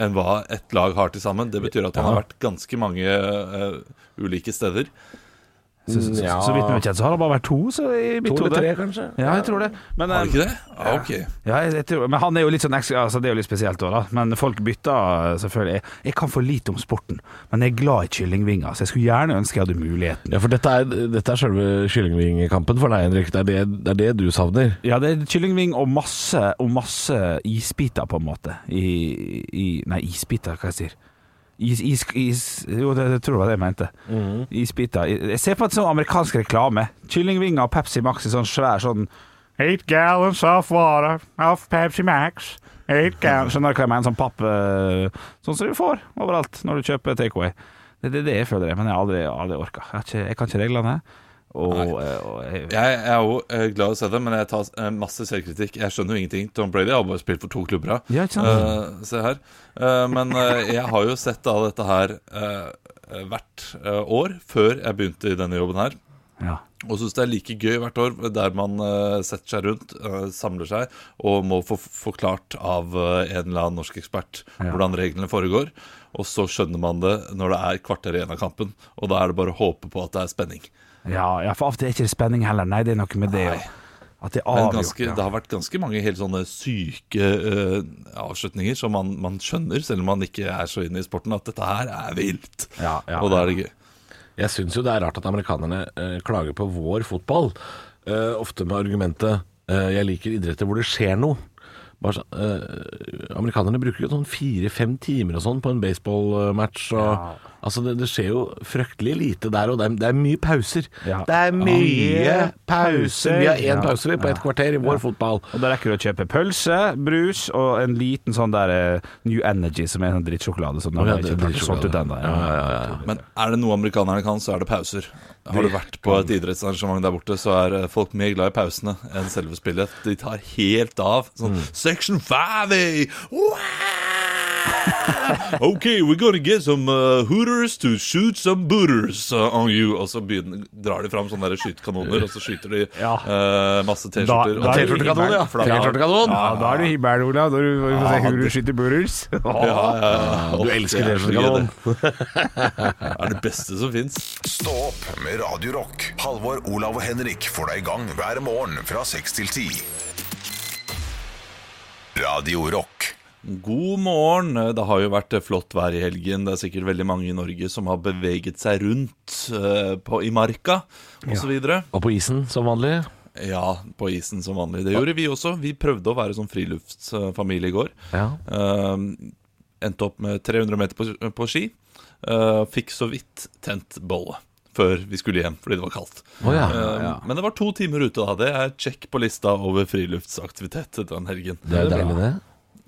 S4: enn hva ett lag har til sammen. Det betyr at han har vært ganske mange eh, ulike steder.
S3: Så, så, så,
S5: Ja.
S3: så vidt meg kjent, så har han bare vært to, så i mitt
S5: To eller
S3: hode.
S5: tre, kanskje?
S3: Ja, jeg tror det. Men,
S4: Har
S3: eh,
S4: det ikke det? Ja, ok.
S3: Ja, jeg, jeg tror, men han er jo litt sånn ekstra, altså det er jo litt spesielt også, da. Men folk bytter eh, selvfølgelig. Jeg, jeg kan for lite om sporten, men jeg er glad i kyllingvinger, så jeg skulle gjerne ønske jeg hadde muligheten.
S5: Ja, for dette er, dette er selve kyllingvingkampen for deg, Henrik. Det er det, det er det du savner.
S3: Ja, det er kyllingving og masse, og masse isbiter, på en måte. I, i Nei, isbiter, hva jeg sier. Is, is, is, jo, det, det tror jeg var det jeg mente. Isbiter. Jeg ser på en sånn amerikansk reklame. Kyllingvinger og Pepsi Max i sånn svær sånn Eight gallons of water of Pepsi Max. Eight gallons Skjønner du hva jeg mener? Sånn papp eh, Sånn som du får overalt når du kjøper takeaway. Det er det, det jeg føler, jeg, men jeg har aldri, aldri orka. Jeg, har ikke- jeg kan ikke reglene. Og, eh, og jeg,
S4: Jeg er jo eh, glad i å se det, men jeg tar eh, masse selvkritikk. Jeg skjønner jo ingenting. Tom Brady har bare spilt for to klubber. da.
S3: Ja, ikke sant?
S4: Eh, se her. Eh, men eh, jeg har jo sett da dette her eh, hvert eh, år før jeg begynte i denne jobben her.
S3: ja.
S4: Og syns det er like gøy hvert år, der man eh, setter seg rundt, eh, samler seg og må få forklart av eh, en eller annen norsk ekspert hvordan reglene foregår. Og så skjønner man det når det er kvarter igjen av kampen, og da er det bare å håpe på at det er spenning.
S3: Ja, ja, for av og til er det ikke spenning heller. Nei, det er noe med det.
S4: Nei.
S3: At det er
S4: Men
S3: avgjort.
S4: ganske,
S3: ja.
S4: det har vært ganske mange helt sånne syke eh, avslutninger som man, man skjønner, selv om man ikke er så inne i sporten, at dette her er vilt.
S3: Ja, ja,
S4: og da er det gøy.
S5: Jeg syns jo det er rart at amerikanerne eh, klager på vår fotball, eh, ofte med argumentet eh, 'jeg liker idretter hvor det skjer noe'. Bare sånn, eh, amerikanerne bruker jo sånn fire-fem timer og sånn på en baseballmatch. og- Altså, det, det skjer jo fryktelig lite der, og det er, det er mye pauser.
S3: Ja.
S5: Det er mye
S3: Ja.
S5: pauser. Vi har
S3: Ja.
S5: én pause vi på et kvarter i vår fotball.
S3: Og da rekker du å kjøpe pølse, brus og en liten sånn der eh, New Energy, som er en drittsjokolade. Sånn,
S5: Å, ja,
S3: har
S5: det
S3: ikke
S5: er
S3: vært solgt ut
S5: drittsjokolade.
S3: ennå.
S4: Men er det noe amerikanerne kan, så er det pauser. Har du vært på et idrettsarrangement der borte, så er eh, folk mer glad i pausene enn selve spillet. De tar helt av. Sånn
S3: Mm.
S4: Section 5! eh! Wow! OK, we're gonna get some uh, hooters to shoot some booters uh, on you. Og så begynner, drar de fram sånne der skytekanoner, og så skyter de
S3: Ja.
S4: eh, masse T-skjorter.
S3: Da- da er
S4: Og
S3: det
S4: T-skjortekanon,
S3: himmel.
S4: ja, for da-
S5: T-skjortekanon!
S3: Ja, da er du himmelen, Olav, når du får se Huru skyter burgers.
S4: Ja, ja, ja.
S5: Du elsker
S4: Det er så gøy,
S5: T-skjortekanon.
S4: Det er det beste som fins.
S1: Stå opp med Radio Rock. Halvor, Olav og Henrik får deg i gang hver morgen fra 6 til 10. Radio Rock.
S4: God morgen. Det har jo vært flott vær i helgen. Det er sikkert veldig mange i Norge som har beveget seg rundt eh, på, i marka osv.
S5: Og på isen, som vanlig.
S4: Ja, på isen som vanlig. Det gjorde vi også. Vi prøvde å være sånn friluftsfamilie i går.
S5: Ja.
S4: Eh, endte opp med 300 meter på, på ski. Eh, fikk så vidt tent bollet før vi skulle hjem fordi det var kaldt.
S5: Å, ja.
S4: Eh, Men det var to timer ute da. Det er check på lista over friluftsaktivitet den helgen.
S5: Det er jo deilig, det.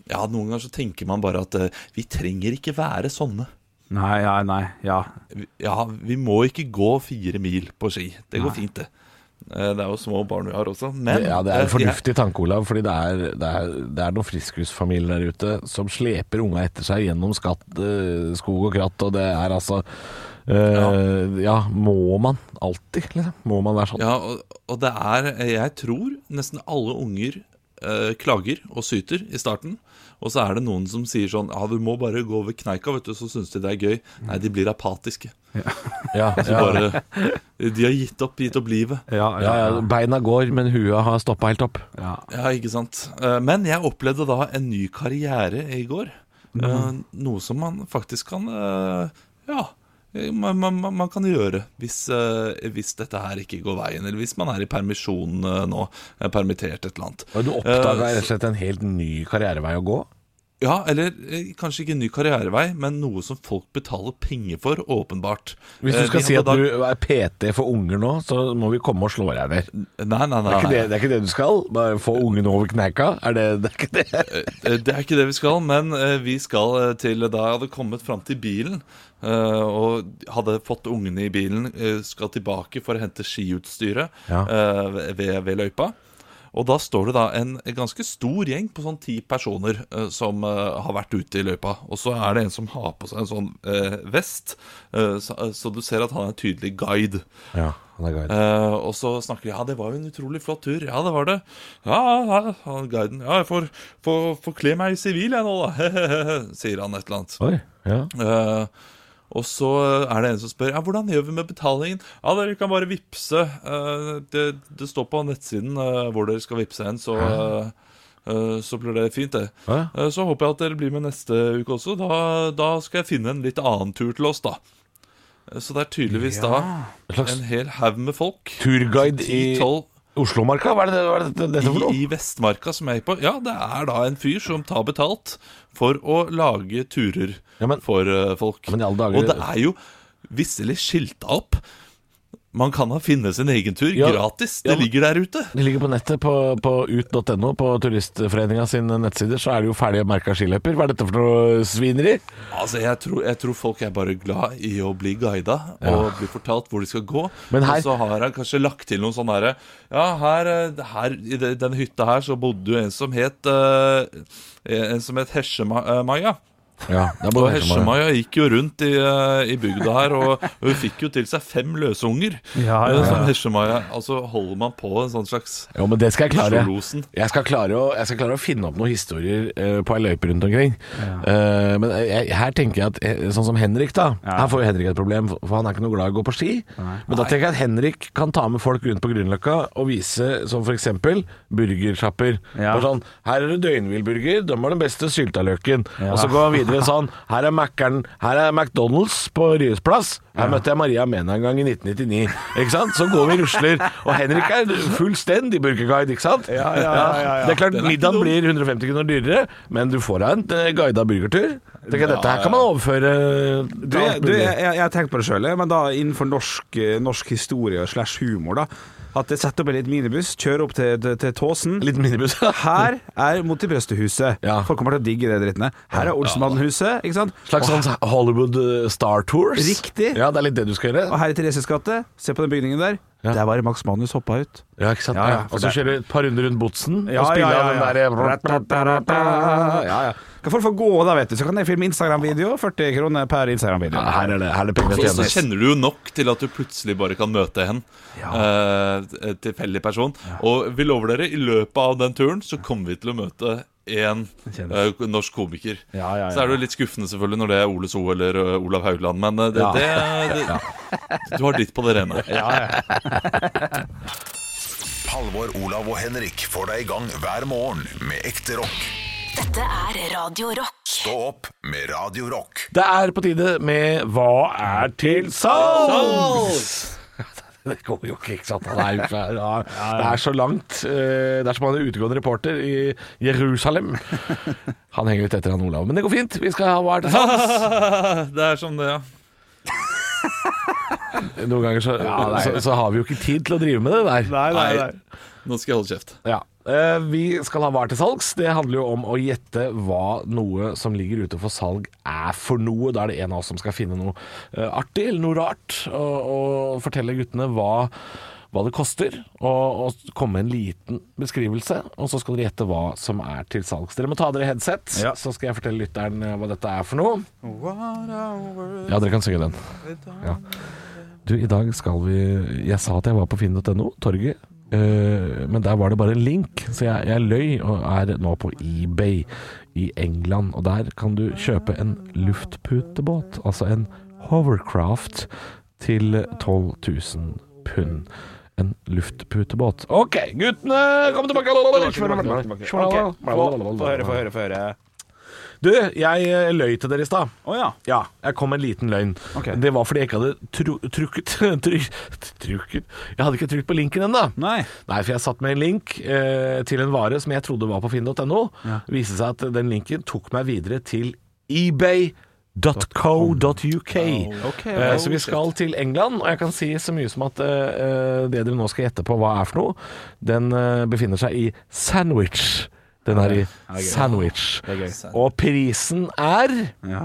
S4: Ja, noen ganger så tenker man bare at eh, vi trenger ikke være sånne.
S3: Nei, ja, nei, ja.
S4: Vi- Ja, vi må ikke gå fire mil på ski. Det går fint, det. Eh, Det er jo små barn vi har også, men
S5: Ja, det er en
S4: eh, de
S5: fornuftig tanke, Olav, fordi det er, det er, det er noen friskusfamilier der ute som sleper unga etter seg gjennom skatt, eh, skog og kratt, og det er altså eh, ja. må man alltid, liksom? Må man være sånn?
S4: Ja, og, og det er eh, Jeg tror nesten alle unger eh, klager og syter i starten. Og så er det noen som sier sånn Ja, du må bare gå over kneika, vet du, så syns de det er gøy. Nei, de blir apatiske.
S5: Ja,
S4: De,
S5: ja, ja,
S4: bare, de har gitt opp, gitt opp livet.
S3: Ja, ja,
S5: ja,
S3: ja.
S5: beina går, men huet har stoppa helt opp.
S3: ja.
S4: Ja, ikke sant. Eh, Men jeg opplevde da en ny karriere i går. Eh,
S5: Mm.
S4: Noe som man faktisk kan eh, Ja. eh, Man, man, man- man kan gjøre hvis, eh, hvis dette her ikke går veien, eller hvis man er i permisjon eh, nå. eh, Permittert et eller annet.
S5: Og du oppdaga
S4: Eh,
S5: rett og slett en helt ny karrierevei å gå?
S4: Ja, eller eh, kanskje ikke en ny karrierevei, men noe som folk betaler penger for, åpenbart.
S5: Hvis
S4: Eh,
S5: du skal
S4: vi
S5: si at
S4: hadde
S5: du er PT for unger nå, så må vi komme og slå deg ned.
S4: da- Nei, nei, nei.
S5: Det er
S4: nei.
S5: ikke det, det, er ikke det du skal? Bare få ungene over kneika? Er det, det er ikke det?
S4: Eh, Det er ikke det vi skal, men eh, vi skal eh, til da jeg hadde kommet fram til bilen eh, og hadde fått ungene i bilen, eh, skal tilbake for å hente skiutstyret
S5: Ja.
S4: eh, ved, ved løypa. Og da står det da en ganske stor gjeng på sånn ti personer eh, som eh, har vært ute i løypa. Og så er det en som har på seg en sånn eh, vest, eh, så, så du ser at han er en tydelig guide.
S5: Ja, han er guide.
S4: Eh, og så snakker de Ja, det var jo en utrolig flott tur. Ja, det var det. Ja, ja, ja, han guiden. Ja, jeg får, får, får kle meg i sivil, jeg nå, da. Sier han et eller annet.
S5: Oi, ja.
S4: Eh, og så er det en som spør Ja, hvordan gjør vi med betalingen. Ja, dere kan bare vippse. Eh, det, det står på nettsiden eh, hvor dere skal vippse hen, så eh, eh, så blir det fint, det.
S5: Hæ?
S4: Eh, Så håper jeg at dere blir med neste uke også. Da, da skal jeg finne en litt annen tur til oss, da. Eh, Så det er tydeligvis
S5: En
S4: da
S5: slags-
S4: en hel haug med folk.
S5: Turguide i
S4: 10-12
S5: Oslomarka? Hva er det, hva er det dette for
S4: i,
S5: noe?
S4: I Vestmarka som jeg gikk på Ja, det er da en fyr som tar betalt For å lage turer
S5: Ja, men-
S4: For eh, folk
S5: men i alle dager-
S4: Og det er jo visselig skilta opp Man kan da finne sin egen tur
S5: Ja,
S4: gratis
S5: ja,
S4: Det
S5: men-
S4: ligger der ute
S5: Det ligger på nettet, på, på ut.no, på Turistforeninga sine nettsider, så er det jo ferdig merka skiløyper. Hva er dette for noe svineri?
S4: Altså, jeg tror, jeg tror folk er bare glad i å bli guida og bli fortalt hvor de skal gå.
S5: Men her-
S4: Og så har han kanskje lagt til noen sånne herre Ja, her, eh, her i de- den hytta her så bodde jo en som het eh, En som het eh, Hesjemaja.
S5: Ja, det er
S4: Og
S5: bare Hesjemaja.
S4: Hesjemaja gikk jo rundt i, eh, i bygda her, og og hun fikk jo til seg fem løsunger.
S3: Ja, ja,
S4: eh, Som
S3: ja.
S4: Hesjemaja. Altså, holder man på en sånn slags
S5: Jo, men det skal jeg klare.
S4: Oslo-losen?
S5: Jeg skal klare, å, jeg skal klare å finne opp noen historier eh, på ei løype rundt omkring. Eh, men jeg, her tenker jeg at eh, Sånn som Henrik, da. Her får jo Henrik et problem, for for han er ikke noe glad i å gå på ski. Men da tenker jeg at Henrik kan ta med folk rundt på Grünerløkka og vise som f.eks. burgersjapper.
S3: Ja.
S5: Sånn, Bare Sånn, her er det døgnhvilburger, de har den beste syltaløken. Og så går han videre sånn Her er Mackeren, her er McDonald's på Ryes plass. Her møtte jeg Maria Mena en gang i 1999. Ikke sant? Så går vi og rusler. Og Henrik er fullstendig burgerguide, ikke sant?
S3: Ja, ja, ja, ja, ja.
S5: Det er klart,
S4: Den er ikke
S5: middagen
S4: dum.
S5: blir 150 kroner dyrere, men du får deg en eh, guida burgertur. Tenker jeg, Dette her kan man overføre eh,
S3: Du,
S5: til
S3: jeg,
S5: alt
S3: du,
S5: mulig.
S3: jeg, jeg jeg tenker på det sjøl, men da innenfor norsk, eh, norsk historie slash humor, da. At jeg setter opp en liten minibuss, kjører opp til, til, til Tåsen.
S5: En liten minibuss.
S3: Her er Motibrøstehuset.
S5: Ja.
S3: Folk kommer til å digge det drittene. Her er Olsenmannhuset, ikke sant?
S5: Slags sånn Hollywood eh, Star Tours.
S3: Riktig.
S5: Ja, det er litt det du skal
S3: Og
S5: gjøre.
S3: her i Thereses gate, se på den bygningen der.
S5: Ja.
S3: Der var det Max Manus hoppa ut.
S5: Ja, ikke sant?
S3: Ja, ja,
S5: Ja,
S3: for
S5: Og så
S3: det-
S5: kjøre et par runder rundt botsen
S3: Ja,
S5: og spille
S3: ja, ja, ja.
S5: eh, av den der
S3: Ja, ja. Kan folk få gå da, vet du. Så kan jeg filme Instagram-video. 40 kroner per Instagram-video.
S5: Ja, her er det, her er det penger å
S4: Og så
S5: tjene.
S4: kjenner du jo nok til at du plutselig bare kan møte hen. Eh, en tilfeldig person. Og vi lover dere, i løpet av den turen så kommer vi til å møte en eh,
S3: Kjendis.
S4: norsk komiker.
S3: Ja, ja, ja.
S4: Så er det jo litt skuffende selvfølgelig når det er Ole So eller eh, Olav Haugland, men eh, det,
S3: Ja.
S4: det, det, du har ditt på det rene.
S1: Halvor, Olav og Henrik får deg i gang hver morgen med ekte rock.
S2: Dette er Radio Rock.
S1: Stå opp med Radio Rock.
S5: Det er på tide med Hva er til salgs? Det kommer jo ikke, ikke sant? Han er jo ikke her. Ja, Det er så langt. eh, Det er som han er utegående reporter i Jerusalem. Han henger litt etter han Olav, men det går fint. Vi skal ha Hva er til salgs?
S4: det er som det, ja.
S5: Noen ganger så, så, så har vi jo ikke tid til å drive med det der.
S3: Nei, nei, nei.
S4: Nå skal jeg holde kjeft.
S5: Ja. Eh, Vi skal ha hva er til salgs. Det handler jo om å gjette hva noe som ligger ute for salg er for noe. Da er det en av oss som skal finne noe eh, artig eller noe rart, og, og fortelle guttene hva, hva det koster. Og, og komme med en liten beskrivelse, og så skal dere gjette hva som er til salgs. Dere må ta av dere headset,
S3: Ja.
S5: så skal jeg fortelle lytteren eh, hva dette er for noe. Ja, dere kan synge den. Ja. Du, i dag skal vi Jeg sa at jeg var på finn.no, torget. eh, men der var det bare en link, så jeg, jeg løy og er nå på eBay i England. Og der kan du kjøpe en luftputebåt, altså en hovercraft, til 12 000 pund. En luftputebåt. OK, guttene, kom
S3: Få høre, få
S5: tilbake!
S3: høre, få høre.
S5: Du, jeg eh, løy til dere i stad.
S3: Å ja.
S5: Ja, jeg kom med en liten løgn.
S3: Ok.
S5: Det var fordi jeg ikke hadde tru trukket tryk, Trukket Jeg hadde ikke trykt på linken ennå.
S3: Nei.
S5: Nei, for jeg satt med en link eh, til en vare som jeg trodde var på finn.no.
S3: Ja.
S5: Det Viste seg at den linken tok meg videre til ebay.co.uk.
S3: Oh, ok,
S5: Eh, så vi skal til England, og jeg kan si så mye som at eh, eh, det dere nå skal gjette på hva er for noe, den eh, befinner seg i sandwich. Den er i sandwich. Og prisen er
S3: Ja.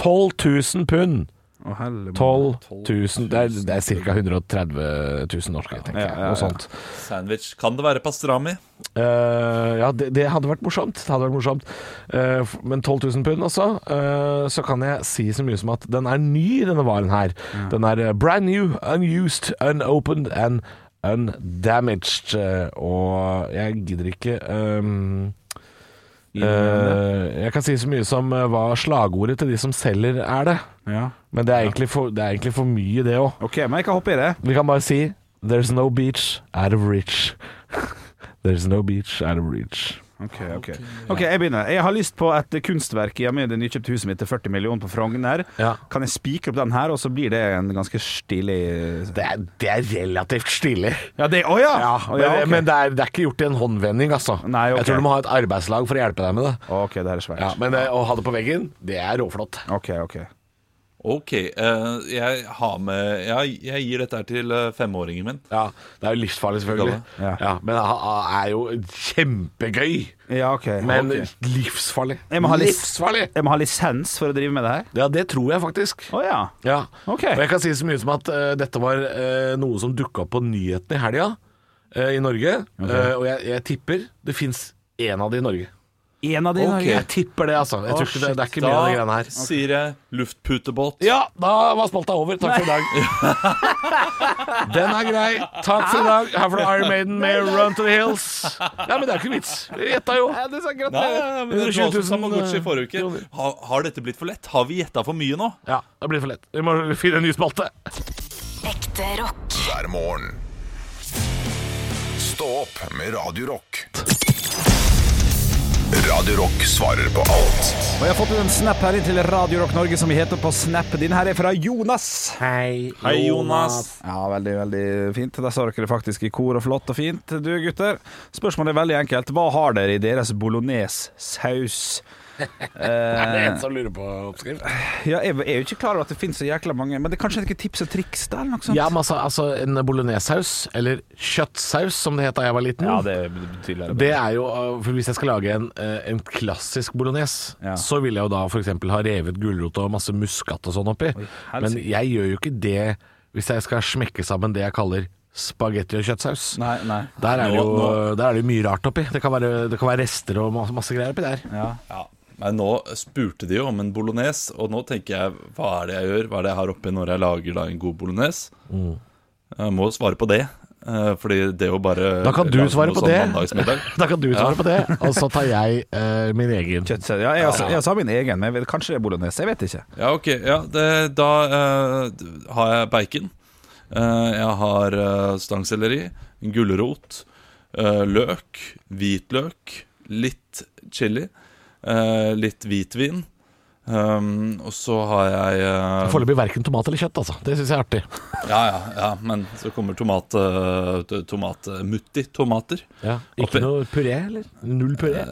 S5: 12 000 pund.
S3: Å, helle-
S5: 12 000 Det er, det er ca. 130 000 norske, tenker jeg.
S3: Ja, ja, ja.
S5: Noe sånt.
S4: Sandwich. Kan det være pastrami?
S5: Eh, ja, det, det hadde vært morsomt. Det hadde vært morsomt. Eh, f- men 12 000 pund også, eh, så kan jeg si så mye som at den er ny, denne varen her. Den er eh, brand new, unused, unopened and undamaged. Eh, og jeg gidder ikke ehm, eh, Jeg kan si så mye som eh, hva slagordet til de som selger er det.
S3: Ja.
S5: Men det er egentlig for, det er egentlig for mye, det òg.
S3: OK, men jeg kan hoppe i det.
S5: Vi kan bare si There's no beach out of reach. There's no beach out of reach.
S3: Ok, ok. Ok, jeg begynner. Jeg har lyst på et kunstverk i Amelie nykjøpte huset mitt til 40 millioner på Frogner.
S5: Ja.
S3: Kan jeg spikre opp den her, og så blir det en ganske stilig
S5: Det er, det er relativt stilig.
S3: Ja, det Å ja!
S5: Ja,
S3: Å,
S5: men,
S3: ok.
S5: men det, er, det er ikke gjort i en håndvending, altså.
S3: Nei, ok.
S5: Jeg tror du må ha et arbeidslag for å hjelpe deg med det.
S3: OK, det her er svært.
S5: Ja, men eh, å ha det på veggen, det er råflott.
S3: OK, OK.
S4: Ok, eh, jeg har med Jeg, jeg gir dette her til eh, femåringen min.
S5: Ja, det er jo livsfarlig, selvfølgelig.
S3: Ja.
S5: Ja, men det er jo kjempegøy,
S3: Ja, OK.
S5: men
S3: Ok.
S5: livsfarlig.
S3: Jeg må ha lis-
S5: livsfarlig!
S3: Jeg må ha lisens for å drive med det her?
S5: Ja, det tror jeg faktisk.
S3: Å ja.
S5: Ja,
S3: Ok.
S5: og jeg kan si så mye som at eh, dette var eh, noe som dukka opp på nyhetene i helga eh, i Norge. Eh, og jeg, jeg tipper det fins én av de i Norge.
S3: En av de
S4: Ok.
S3: Norge.
S5: Jeg tipper det, altså. Jeg
S3: Å,
S5: tror ikke det, det er ikke mye av de greiene
S4: Da
S5: her.
S4: sier jeg luftputebåt.
S5: Ja, da var spalta over. Takk for i dag. Den er grei. Takk for i dag. Her får du Iron Maiden med Run to the Hills. Nei, men det er jo ikke vits. Vi gjetta jo.
S4: Nei, men det
S5: 120 000,
S4: var som Tamagotchi i forrige uke.
S5: eh, kroner.
S4: Har, har dette blitt for lett? Har vi gjetta for mye nå?
S5: Ja, det blir for lett. Vi må finne en ny spalte.
S2: Ekte rock.
S1: hver morgen. Stå opp med Radio Rock. Radio Rock svarer på alt.
S3: Og jeg har fått en snap her inn til Radio Rock Norge, som vi heter på Snap. Din her er fra Jonas.
S5: Hei,
S4: Hei, Jonas.
S3: Ja, veldig, veldig fint. Der sa dere det faktisk i kor og flott og fint. Du, gutter. Spørsmålet er veldig enkelt. Hva har dere i deres bolognese-saus?
S5: Er det en som lurer på oppskrift?
S3: Ja, jeg jeg er jo ikke klar over at det finnes så jækla mange, men det er kanskje ikke tips og triks der, eller noe sånt?
S5: Ja, men altså, altså en bolognesaus, eller kjøttsaus som det het da jeg var liten.
S3: Ja, det er tydeligere.
S5: Det er jo, uh, for Hvis jeg skal lage en, uh, en klassisk bolognese,
S3: Ja.
S5: så vil jeg jo da f.eks. ha revet gulrot og masse muskat og sånn oppi. Men
S3: helsike.
S5: jeg gjør jo ikke det hvis jeg skal smekke sammen det jeg kaller spagetti og kjøttsaus.
S3: Nei, nei.
S5: Der er, det
S4: Nå-
S5: jo, øh, der er det jo mye rart oppi. Det kan være, det kan være rester og masse, masse greier oppi der.
S3: Ja.
S4: Ja. Men nå spurte de jo om en bolognese, og nå tenker jeg hva er det jeg gjør? Hva er det jeg har oppi når jeg lager da en god bolognese?
S5: Mm.
S4: Jeg må svare på det. eh, Fordi det å bare
S5: Da kan du
S4: lage
S5: svare
S4: noe
S5: på
S4: sånn
S5: det.
S4: mandagsmiddag.
S5: Da kan du svare på det, og så tar jeg uh, min egen.
S3: Kjøttsaus. Ja, jeg har- jeg har sa min egen, men jeg vet, kanskje det er bolognese. Jeg vet ikke.
S4: Ja, ok. Ja, det, da eh, d- har jeg bacon. Eh, jeg har eh, stangselleri, gulrot, eh, løk, hvitløk, litt chili, eh, litt hvitvin. Um, og så har jeg eh,
S5: Foreløpig verken tomat eller kjøtt, altså. Det syns jeg er artig.
S4: Ja, ja, ja, men så kommer tomat, eh, t- tomat eh, Mutti tomater
S5: Ikke
S4: Oppi.
S5: noe puré, eller? Null puré?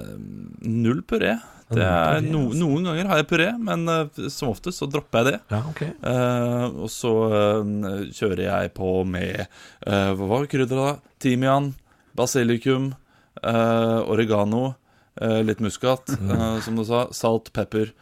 S4: Null puré altså. det er, no, Noen ganger har jeg puré Men eh, som oftest så dropper jeg det
S5: Ja, ok.
S4: Eh, Og så eh, kjører jeg på med eh, Hva var krydder da? Timian, basilikum eh, Oregano eh, Litt muskat, eh, som du sa Salt, pepper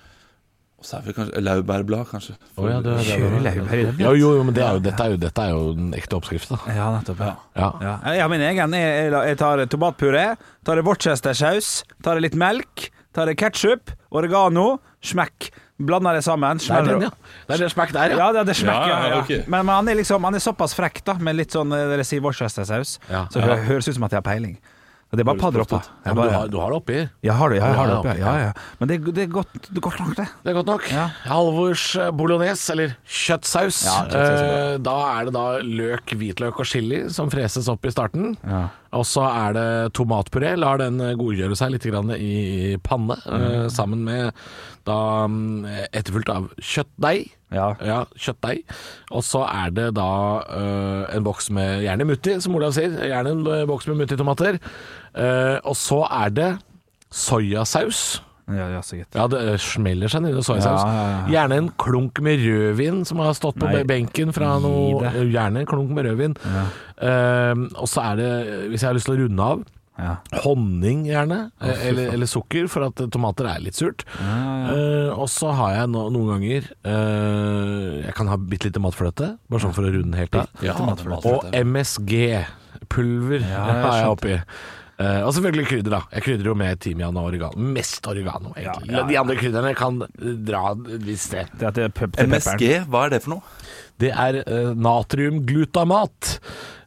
S4: Og så er vi kanskje Laurbærblad, kanskje
S5: Å, ja, det- det-
S3: Kjører laurbær i det?
S5: Ja, jo, jo, men det er jo, dette, er jo, dette er jo den ekte oppskriften. da.
S3: Ja, nettopp. Ja.
S5: Ja.
S3: Ja. Jeg har min egen. Jeg, jeg, la- jeg tar tomatpuré, tar Worcestersaus, tar litt melk, tar ketsjup, oregano, smekk. Blander det sammen.
S5: Det er
S3: smeller-
S5: den, ja. Det er den smakk der, ja.
S3: Ja, det, det smekker, ja,
S4: Ja,
S3: ja,
S4: ja, ok.
S3: Men, men han, er liksom, han er såpass frekk, da, med litt sånn eh, dere sier Worcestersaus,
S5: Ja.
S3: så det hø- høres ut som at jeg har peiling. Og det er bare et par dropper.
S5: Ja, men du har, du har det oppi.
S3: Jeg har det, jeg har det
S5: Ja,
S3: oppi,
S5: ok.
S3: ja, ja. Men det, det er godt, det går langt, det.
S5: Det er godt nok.
S3: Ja.
S5: Halvors eh, bolognese, eller kjøttsaus.
S3: Ja, kjøttsaus er
S5: Eh, da er det da løk, hvitløk og chili som freses opp i starten. Og så er det tomatpuré. Lar den eh, godgjøre seg litt grann i panne, eh, sammen med da mm, etterfulgt av kjøttdeig.
S3: Ja.
S5: Ja, kjøttdeig. Og så er det da eh, en boks med gjerne mutti, som Olav sier. Gjerne en eh, boks med muttitomater. Uh, og så er det soyasaus.
S3: Ja, ja, så gitt.
S5: Ja, det eh, smeller seg nedi soyasaus.
S3: Ja, ja, ja.
S5: Gjerne en klunk med rødvin som har stått på
S3: Nei,
S5: benken fra noe
S3: det.
S5: Gjerne en klunk med rødvin. Eh, og så er det, eh, hvis jeg har lyst til å runde av,
S3: Ja.
S5: honning gjerne. eh, eller, eller sukker, for at eh, tomater er litt surt. Eh, og så har jeg no, noen ganger eh, Jeg kan ha bitte lite matfløte, bare sånn for å runde den helt av.
S4: Ja,
S5: Og MSG-pulver har jeg oppi. Eh, og selvfølgelig krydder, da. Jeg krydrer jo med timian og oregano. Mest oregano, egentlig.
S3: Ja, ja, ja.
S5: De andre krydderne kan dra et visst sted.
S3: Det at det er pep til
S4: MSG,
S3: pepperen.
S4: hva er det for noe?
S5: Det er eh, natriumglutamat.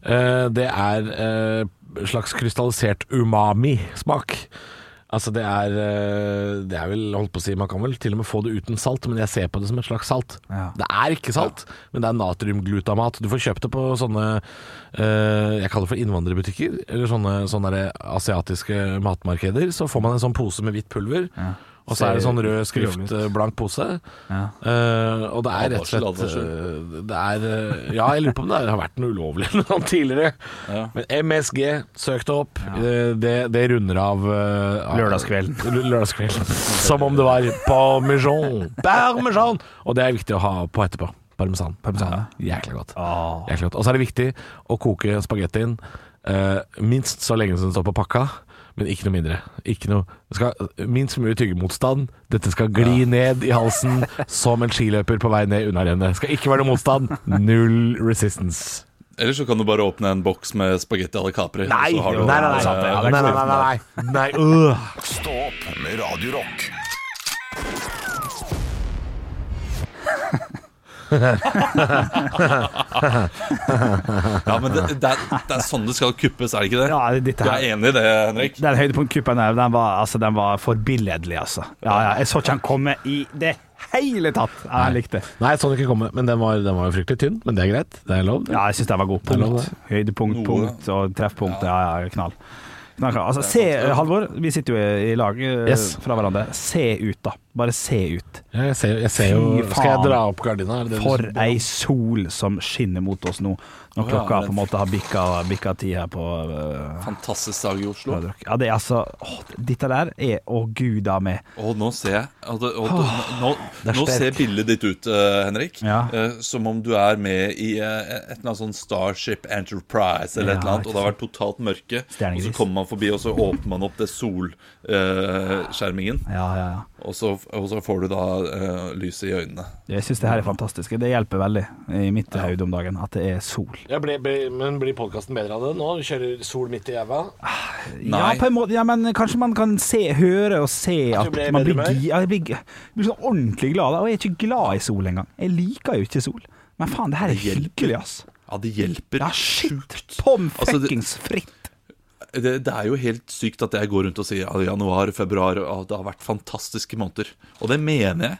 S5: Eh, det er eh, slags krystallisert umami-smak. Altså det er eh, Det er vel holdt på å si Man kan vel til og med få det uten salt, men jeg ser på det som et slags salt.
S3: Ja.
S5: Det er ikke salt, men det er natriumglutamat. Du får kjøpt det på sånne eh, Jeg kaller det for innvandrerbutikker, eller sånne, sånne der asiatiske matmarkeder. Så får man en sånn pose med hvitt pulver. Og så er det
S3: Ser
S5: sånn rød skrift,
S3: skrovelig ut.
S5: eh, blank pose.
S3: Ja.
S5: Eh, og det er rett og slett
S4: Advarsel,
S5: eh, Det er eh, Ja, jeg lurer på om det er- har vært noe ulovlig eller noe tidligere. Men MSG, søk det opp. Eh, Det, det runder av eh, av-
S3: Lørdagskvelden.
S5: L- Lørdagskvelden. Som om det var parmesan. Parmesan! Og det er viktig å ha på etterpå. Parmesan.
S3: Parmesan,
S5: ja. Jækla godt.
S3: Åh.
S5: Jæklig godt. Og så er det viktig å koke spagettien eh, minst så lenge som den står på pakka, men ikke noe mindre. Ikke noe, det skal minst mulig tyggemotstand. Dette skal gli ned i halsen som en skiløper på vei ned unnarennet. Skal ikke være noe motstand. Null resistance.
S4: Eller så kan du bare åpne en boks med spagetti alle capri og
S5: Nei,
S4: så
S5: nei,
S4: har du-
S5: nei. Nei, nei, nei, nei, nei, nei. nei øh.
S1: Stå opp med Radio Rock.
S4: Ja, men det, det, er, det er sånn det skal kuppes, er det ikke det?
S3: Ja, det er dette
S4: Du
S3: her.
S4: er enig i det, Henrik?
S3: Den høydepunktkuppen her, den var, altså, den var forbilledlig, altså. Ja, ja, jeg så ikke han komme i det hele tatt. Ja, jeg likte det.
S5: Nei, sånn ikke komme. Men den var, den var jo fryktelig tynn, men det er greit. Det er lov. det.
S3: Ja, jeg syns den var god.
S5: er lov,
S3: Punkt. Høydepunkt,
S4: Noe.
S3: punkt og treffpunkt. Ja, ja, knall. Nei, klar. Altså, se, Halvor, vi sitter jo i lag eh,
S5: Yes.
S3: fra hverandre. Se ut, da. Bare se ut.
S5: Jeg ser, jeg ser jo
S3: Fy faen.
S5: Skal jeg dra opp gardina? er det det du
S3: For
S5: sier?
S3: ei sol som skinner mot oss nå, når
S4: ja,
S3: klokka
S4: men-
S3: på en måte har bikka, bikka ti her på eh,
S4: Fantastisk dag i Oslo.
S3: Drøbak. Ja, det er altså åh, Dette der er å guda meg.
S4: Og nå ser jeg og det, og det, nå,
S3: det er
S4: nå ser
S3: sterkt.
S4: bildet ditt ut, eh, Henrik.
S3: Ja.
S4: eh, som om du er med i eh, et eller annet sånn Starship Enterprise eller
S3: Ja,
S4: et eller annet, og det har
S3: ikke
S4: vært totalt mørke. Og
S3: Stjernegris.
S4: så kommer man forbi, og så åpner man opp det solskjermingen,
S3: Ja, ja, ja.
S4: og, så- og så får du da eh, lyset i øynene.
S3: Jeg syns det her er fantastisk. Det hjelper veldig i mitt hode om dagen at det er sol.
S5: Jeg ble, ble, men blir podkasten bedre av det nå? Du kjører sol midt i jæva?
S3: Ja,
S4: Nei.
S3: på en måte, ja, men kanskje man kan se, høre og se
S5: At
S3: at
S5: du ble i
S3: man
S5: bedre
S3: blir,
S5: humør?
S3: gi- ja, jeg blir, jeg blir sånn ordentlig glad. da. Og jeg er ikke glad i sol engang. Jeg liker jo ikke sol. Men faen, det her er hyggelig, ass.
S4: Ja, det hjelper
S3: Ja, shit.
S4: sjukt.
S3: Pom
S4: Altså, det-
S3: fuckings fritt.
S4: det, det er jo helt sykt at jeg går rundt og sier ja, januar, februar ja, Det har vært fantastiske måneder. Og det mener jeg.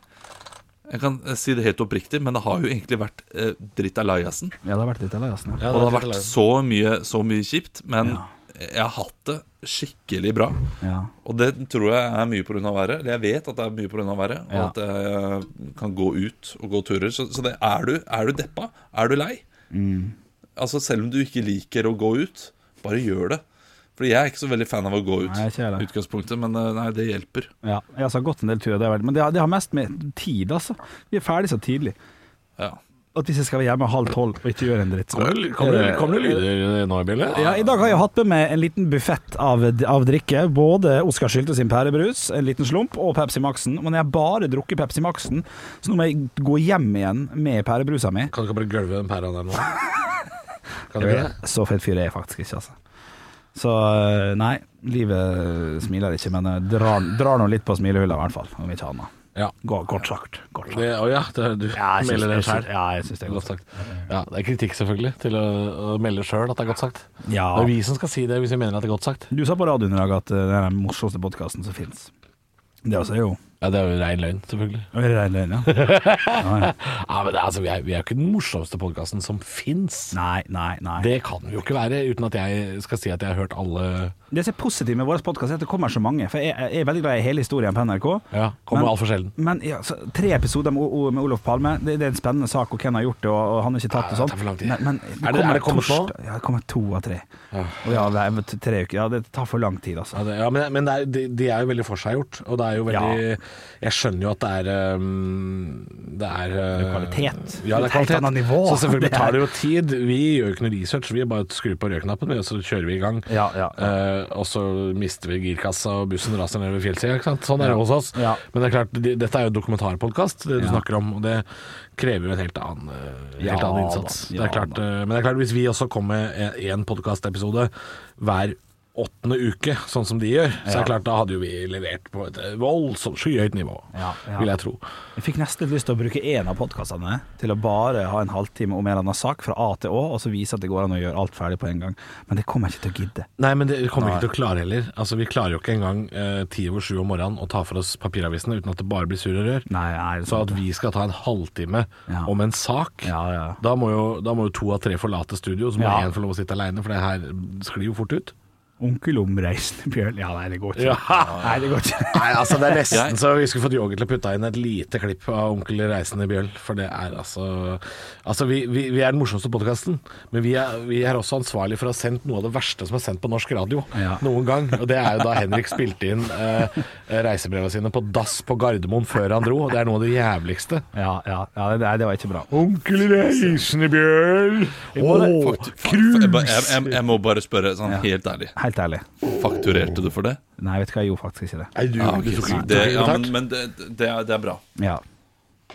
S4: Jeg kan eh, si det helt oppriktig, men det har jo egentlig vært eh, dritt av Lajassen.
S3: Ja, det har vært litt av det, ass. nå.
S5: Ja,
S4: Og det har
S5: er
S4: vært
S5: litt
S4: så mye, så mye kjipt, men
S3: Ja.
S4: jeg har hatt det skikkelig bra.
S3: Ja.
S4: Og det tror jeg er mye pga. været. Eller jeg vet at det er mye pga. været, og
S3: Ja.
S4: at jeg kan gå ut og gå turer. Så, så det, er, du, er du deppa, er du lei,
S3: Mm.
S4: altså selv om du ikke liker å gå ut, bare gjør det. Fordi jeg er ikke så veldig fan av å gå ut,
S3: Nei, ikke jeg heller.
S4: i utgangspunktet, men eh, nei, det hjelper.
S3: Ja, jeg har gått en del turer, det har vært, men det har, det har mest med tid, altså. Vi er ferdig så tidlig.
S4: Ja.
S3: At hvis jeg skal være hjemme halv tolv og ikke gjøre en dritt så-
S5: Kommer det- kommer det- kommer det lyder nå i bildet?
S3: Ja, I dag har jeg hatt med meg en liten buffett av, av drikke. Både Oskar Sylte sin pærebrus, en liten slump, og Pepsi Maxen. Men jeg har bare drukket Pepsi Maxen, så nå må jeg gå hjem igjen med pærebrusa mi.
S5: Kan du ikke bare gølve den pæra der nå? Kan du ikke det?
S3: Så fet fyr er jeg faktisk ikke, altså. Så øh, nei, livet smiler ikke, men øh, drar, drar nå litt på smilehulla i hvert fall, om ikke annet.
S5: Ja.
S3: Gå- Kort sagt. Kort sagt.
S5: Det, å ja, det, du
S3: Ja, jeg syns-
S5: melder det
S3: jeg syns-
S5: sjøl.
S3: Ja, jeg syns det er godt sagt.
S5: Ja, det er kritikk selvfølgelig til å, å melde sjøl at det er godt sagt.
S3: Ja.
S5: Det er vi som skal si det hvis vi mener at det er godt sagt.
S3: Du sa på radioen i dag at eh, det er den morsomste podkasten som fins. Det også er altså jo
S5: Ja, det er jo rein løgn, selvfølgelig.
S3: Er det rein løgn, ja.
S5: Ja, men det, altså, vi, er, vi er jo ikke den morsomste podkasten som fins.
S3: Nei, nei, nei. Det,
S5: Det kan vi jo ikke være uten at jeg skal si at jeg har hørt alle
S3: som er positivt med vår podkast, er at det kommer så mange. For jeg, jeg er veldig glad i hele historien på NRK.
S5: Ja, kommer
S3: Men-
S5: altfor sjelden.
S3: Men ja, så, tre episoder med, O- O- med Olof Palme, det, det er en spennende sak, og hvem har gjort det, og, og han har ikke tatt
S5: Ja,
S3: det
S5: det tar for lang tid.
S3: sånn. Men, men
S5: Er det- er det kommet nå?
S3: torsdag- Ja, det kommer to av tre. Og ja, det er t- tre uker. Ja, det tar for lang tid, altså.
S5: Ja, det, ja men, men det er, de, de er jo veldig forseggjort, og det er jo veldig Jeg skjønner jo at det er um, Det er uh,
S3: kvalitet.
S5: Ja, det er
S3: Et helt
S5: kvalitet.
S3: annet nivå.
S5: Så selvfølgelig
S3: Det er-
S5: tar det jo tid. Vi gjør jo ikke noe research, vi bare skrur på rødknappen, vi, og så kjører vi i gang.
S3: Ja, ja.
S5: Eh, og så mister vi girkassa, og bussen raser nedover fjellsida. ikke sant? Sånn er det hos oss.
S3: Ja.
S5: Men det er klart, de, dette er jo dokumentarpodkast, det du
S3: Ja.
S5: snakker om, og det krever jo en helt annen, eh,
S3: Ja
S5: helt annen innsats.
S3: da,
S5: det
S3: ja
S5: er klart,
S3: da.
S5: eh, men det er klart, hvis vi også kom med én podkastepisode hver åttende uke, sånn som de gjør, så er
S3: Ja.
S5: det klart, da hadde jo vi levert på et voldsomt skyhøyt nivå,
S3: Ja, ja.
S5: vil jeg tro.
S3: Jeg fikk nesten litt lyst til å bruke en av podkastene til å bare ha en halvtime om en eller annen sak fra A til Å, og så vise at det går an å gjøre alt ferdig på en gang. Men det kommer jeg ikke til å gidde.
S5: Nei, men det kommer vi ikke til å klare heller. Altså, Vi klarer jo ikke engang eh, ti over sju om morgenen å ta for oss papiravisene uten at det bare blir surr og rør.
S3: Nei, nei, sånn det er
S5: så
S3: sant
S5: at vi skal ta en halvtime
S3: Ja.
S5: om en sak
S3: Ja, ja.
S5: Da, må jo, da må jo to av tre forlate studio, så må
S3: Ja.
S5: én få lov å sitte aleine, for det her sklir jo fort ut.
S3: Onkel omreisende bjørn. Ja, nei, det går ikke.
S5: Ja.
S3: Nei, det går ikke.
S5: Nei, altså Det er
S4: Jeg-
S5: nesten så vi skulle fått Yogi til å putte inn et lite klipp av Onkel Reisende Bjørn. For det er altså Altså, vi, vi, vi er den morsomste podkasten, men vi er, vi er også ansvarlig for å ha sendt noe av det verste som er sendt på norsk radio
S3: Ja.
S5: noen gang. Og det er jo da Henrik spilte inn eh, reisebrevene sine på dass på Gardermoen før han dro. og Det er noe av det jævligste.
S3: Ja, ja, ja nei, det var ikke bra.
S5: Onkel Reisende Bjørn.
S4: Fakt- fakt- jeg, ba- jeg, jeg, jeg må bare spørre sånn helt ærlig.
S3: Helt ærlig.
S4: Fakturerte du for det?
S3: Nei, vet du hva, jeg gjorde faktisk ikke det.
S5: Er du,
S4: Ja, ok,
S5: du tok ikke- tok
S4: det,
S5: ikke
S4: ja
S5: betalt?
S4: men, men det, det, er, det er bra.
S3: Ja,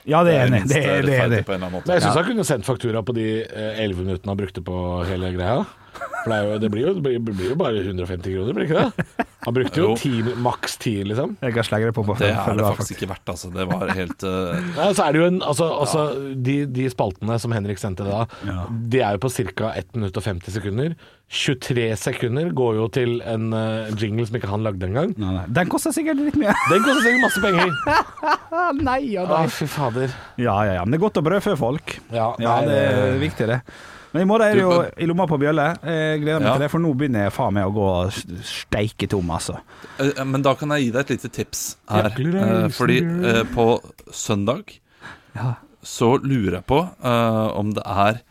S3: ja det er enig.
S4: minst
S3: Det er det. Er,
S4: rettferdig
S3: det.
S4: på en eller annen måte.
S5: Men jeg syns han kunne sendt faktura på de eh, elleve minuttene han brukte på hele greia. For det, er jo, det, blir jo, det blir- det blir jo bare 150 kroner, blir det ikke det? Han brukte jo
S4: Jo.
S5: ti, maks ti, liksom.
S3: Jeg kan slenge det på. på
S4: Det er det faktisk ikke verdt, altså. Det var helt eh,
S5: Nei, så er det jo en, altså, altså, de, de spaltene som Henrik sendte da, de er jo på ca. 1 minutt og 50 sekunder. 23 sekunder går jo til en eh, jingle som ikke han lagde engang.
S3: Nei, nei. Den koster sikkert litt mye.
S5: Den koster sikkert masse penger.
S3: nei, ja,
S5: Å, fy fader.
S3: ja, ja, ja, men det er godt å brødfø folk.
S5: Ja,
S3: Ja,
S5: nei,
S3: det er
S5: det-
S3: viktig, det. Men i morgen er det jo
S5: Du, men-
S3: i lomma på bjølle. Jeg gleder meg
S4: Ja.
S3: til det, for nå begynner jeg faen meg å gå steike tom, altså.
S4: Eh, Men da kan jeg gi deg et lite tips her.
S5: gleder
S4: Eh, Fordi eh, på søndag så lurer jeg på eh, om det er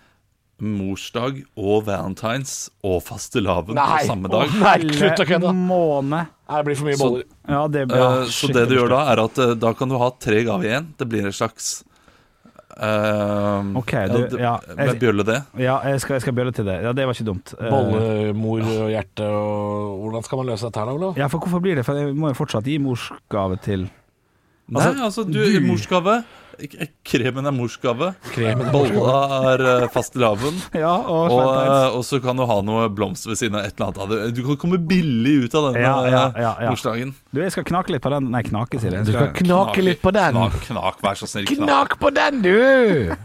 S4: morsdag og valentines og fastelavn på
S5: Nei.
S4: samme dag.
S5: Å, nei, slutt å
S3: Mm.
S5: kødde.
S3: Måned.
S5: Nei, Det blir for mye
S4: Så-
S5: boller.
S3: Ja, det blir
S4: Eh, Så det du gjør da, er at eh, da kan du ha tre gaver igjen. Det blir en slags eh,
S3: Ok, du-
S4: det-
S3: ja.
S4: Med bjølle, det.
S3: Ja, jeg skal, jeg skal bjølle til det. Ja, det var ikke dumt. Eh,
S5: Bollemor og hjerte og Hvordan skal man løse dette her da, Olav?
S3: Ja, for hvorfor blir det? For jeg må jo fortsatt gi morsgave til
S4: Nei, altså, du,
S3: du-
S4: morsgave k- k- Kremen er morsgave.
S5: Kremen er
S4: Bolla er eh, fastelavn.
S3: Ja, og,
S4: Og,
S3: Valentine's.
S4: eh, og så kan du ha noe blomster ved siden av et eller annet. av det. Du kan komme billig ut av denne
S3: Ja, ja, ja, ja.
S4: eh, morsdagen.
S3: Du, jeg skal knake litt på den. Nei, knake, sier jeg.
S5: Du skal knake litt på den.
S4: Knak, knak, vær så snill. Knak.
S5: Knak på den, du!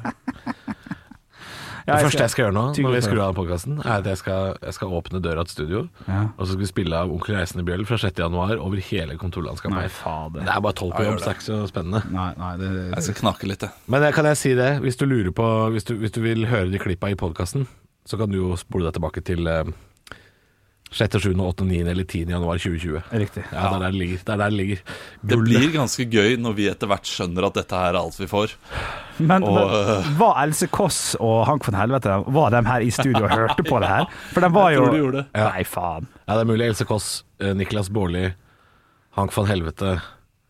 S3: Ja,
S5: det første jeg skal gjøre nå,
S3: Tygge
S5: når vi
S3: litt på
S5: skrur
S3: det.
S5: av podkasten, er at jeg skal, jeg skal åpne døra til studio,
S3: Ja.
S5: og så skal vi spille av Onkel Reisende Bjøll fra 6. januar over hele kontorlandskapet.
S3: Nei, fader.
S5: Det er bare tolv på
S4: Ja, gjør
S5: jobb, så det er ikke så spennende.
S3: Nei, nei, det,
S4: Jeg skal knake litt, jeg.
S5: Men jeg- kan jeg si det, hvis du lurer på Hvis du, hvis du vil høre de klippa i podkasten, så kan du jo spole deg tilbake til eh, 6., 7., 8., 9. eller 10. januar 2020.
S3: er riktig.
S5: Ja, det er der det ligger. Det er der det ligger.
S4: Det
S5: Gullet.
S4: blir ganske gøy når vi etter hvert skjønner at dette her er alt vi får.
S3: Men,
S4: Og,
S5: eh,
S3: men var Else Kåss og Hank von Helvete Var de her i studio og hørte på det her? For de var
S4: Jeg
S3: jo
S4: tror de gjorde det.
S3: Nei, faen.
S5: Ja, det er mulig Else Kåss, eh, Niklas Baarli, Hank van Helvete,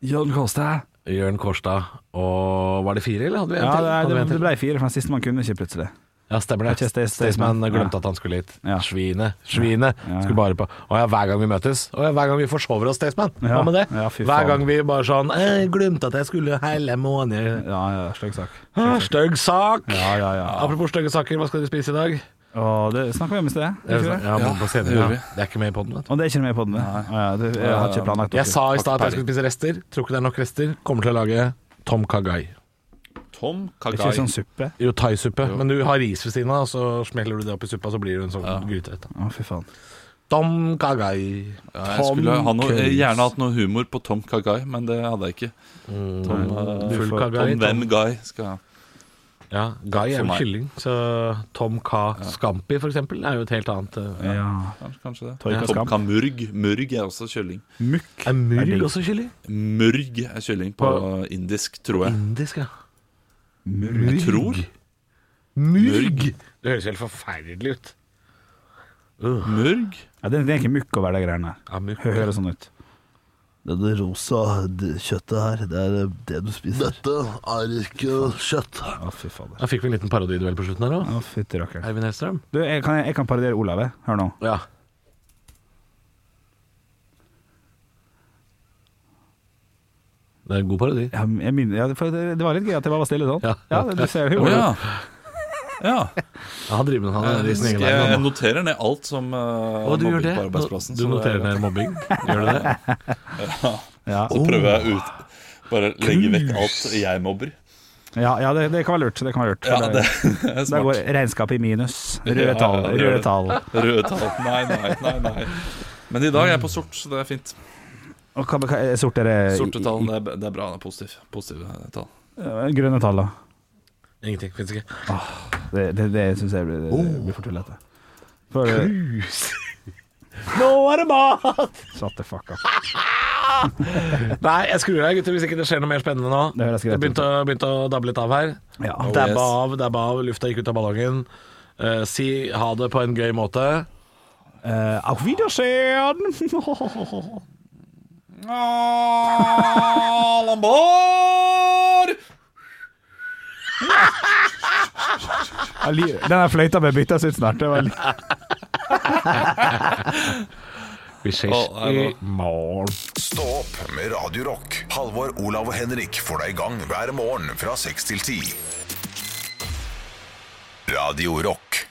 S3: Jørn Kåss, det er
S5: Jørn Kårstad og Var det fire, eller hadde vi en
S3: Ja,
S5: til?
S3: det,
S5: Hadde vi
S3: det,
S5: en til?
S3: det ble fire, for den siste man kunne ikke plutselig.
S5: Ja, stemmer
S3: Det er
S5: det.
S3: ikke Stace-
S5: Staysman
S3: Staysman.
S5: glemte
S3: Ja.
S5: at han skulle hit.
S3: Ja.
S5: Svinet. Svinet.
S3: ja.
S5: Skulle bare på Å ja, hver gang vi møtes. Å ja, hver gang vi forsover oss, Staysman. Hva
S3: Ja.
S5: med det?
S3: Ja, fy
S5: hver
S3: faen.
S5: gang vi bare sånn «Jeg Glemte at jeg skulle hele måneden.
S3: Ja, ja, stygg sak.
S5: Hæ, Stygg sak!
S3: Ja, ja, ja.
S5: Apropos stygge saker, hva skal dere spise i dag?
S3: Og det snakka vi om i sted. gjorde vi
S5: Ja,
S3: det?
S5: men på scenen,
S4: det gjør
S5: ja.
S4: vi.
S5: Det er ikke med i poden, vet du.
S3: Og det er ikke med i poden? Ja, det- jeg har ikke planlagt
S5: Jeg sa i
S4: Takk,
S5: stad at jeg
S4: Perry.
S5: skulle spise rester. Tror ikke det er nok rester. Kommer til å lage tom kagai.
S4: Tom
S3: Ikke
S4: Kagai.
S3: sånn suppe?
S5: Jo, thaisuppe. Men du har ris ved siden av, og så smeller du det opp i suppa, så blir det en sånn gryterett. da.
S3: Å, fy faen.
S5: Tom kagai.
S4: Ja, jeg skulle ha noe, jeg
S5: Cruise.
S4: gjerne hatt noe humor på Tom Kagai, men det hadde jeg ikke. Tom, eh,
S5: Full
S3: får-
S5: kagai.
S4: Tom Hvem Guy skal jeg ha.
S5: Ja, Guy er jo
S4: For meg.
S5: kylling, så Tom K. Scampi for eksempel er jo et helt annet eh,
S3: Ja.
S4: Kanskje, kanskje det.
S3: Torka
S4: Tom
S3: Skam.
S4: Kamurg. Murg er også kylling.
S3: Mukk.
S5: Er
S3: Er digg.
S5: murg også kylling?
S4: Murg er kylling på indisk, tror jeg.
S5: Indisk, ja.
S3: Murg.
S4: Tror.
S5: Murg! Det høres helt forferdelig ut.
S4: Murg?
S3: Ja, det, det er ikke mukk over de greiene her.
S5: Ja, murg.
S3: Hø- Høres sånn ut.
S9: Det rosa kjøttet her, det er eh, det du spiser. Dette er ikke kjøtt.
S3: Å, fy fader.
S5: Da fikk vi en liten parodiduell på slutten her òg.
S3: Å, fytti rakkeren.
S5: Eivind Hellstrøm.
S3: Du, jeg kan, jeg kan parodiere Olav, jeg. Hør nå.
S5: Ja. Det er en god parodi.
S3: Ja, men jeg minner, ja, for det, det var litt gøy at jeg bare var stille sånn.
S5: Ja.
S3: Ja, det- du ser
S4: Å
S3: jo
S4: ja. Ja.
S5: Ja, han driver med han er i sin egen
S4: Skal jeg jeg
S5: verden. han.
S4: noterer ned alt som uh,
S5: Å, du gjør
S4: mobbing
S5: det?
S4: på arbeidsplassen.
S5: Du
S4: så det-
S5: noterer ned mobbing? Gjør du det?
S3: Ja,
S4: Så prøver jeg ut Bare legge vekk alt jeg mobber.
S3: ja, ja det, det kan være lurt. Det kan være lurt.
S4: Ja,
S3: for
S4: det
S3: det,
S4: er
S3: da
S4: smart.
S3: går regnskapet i minus.
S4: Ja,
S3: Røde tall.
S4: det gjør
S3: Røde
S4: det.
S3: tall.
S4: Røde tall. Nei, nei, nei. nei Men i dag er jeg på sort, så det er fint.
S3: Og hva, hva, sortere
S4: Sorte tall, det er, det er bra. Det er positiv, positive tall.
S3: grønne tall, da.
S5: Ingenting. Fins ikke.
S3: Det, det, det syns jeg blir,
S4: Oh.
S3: det blir for tullete. For
S5: Nå er det mat!
S3: Shut the fuck up.
S5: Nei, jeg skrur av, gutter, hvis ikke det skjer noe mer spennende nå.
S3: Det høres greit ut.
S5: begynte, å- begynte å dabbe litt av her. Oh,
S3: Ja.
S5: dabba
S4: yes.
S5: av, dabba av, lufta gikk ut av ballongen. Eh, si ha det på en gøy måte.
S3: Eh, auf Wiedersehen!
S4: Alambor!
S3: Jeg lir- Den der fløyta bør byttes ut snart. Det var litt
S5: Vi ses
S4: Å,
S5: i morgen.
S1: Stå opp med Radio Rock. Halvor, Olav og Henrik får deg i gang hver morgen fra 6 til 10. Radio Rock.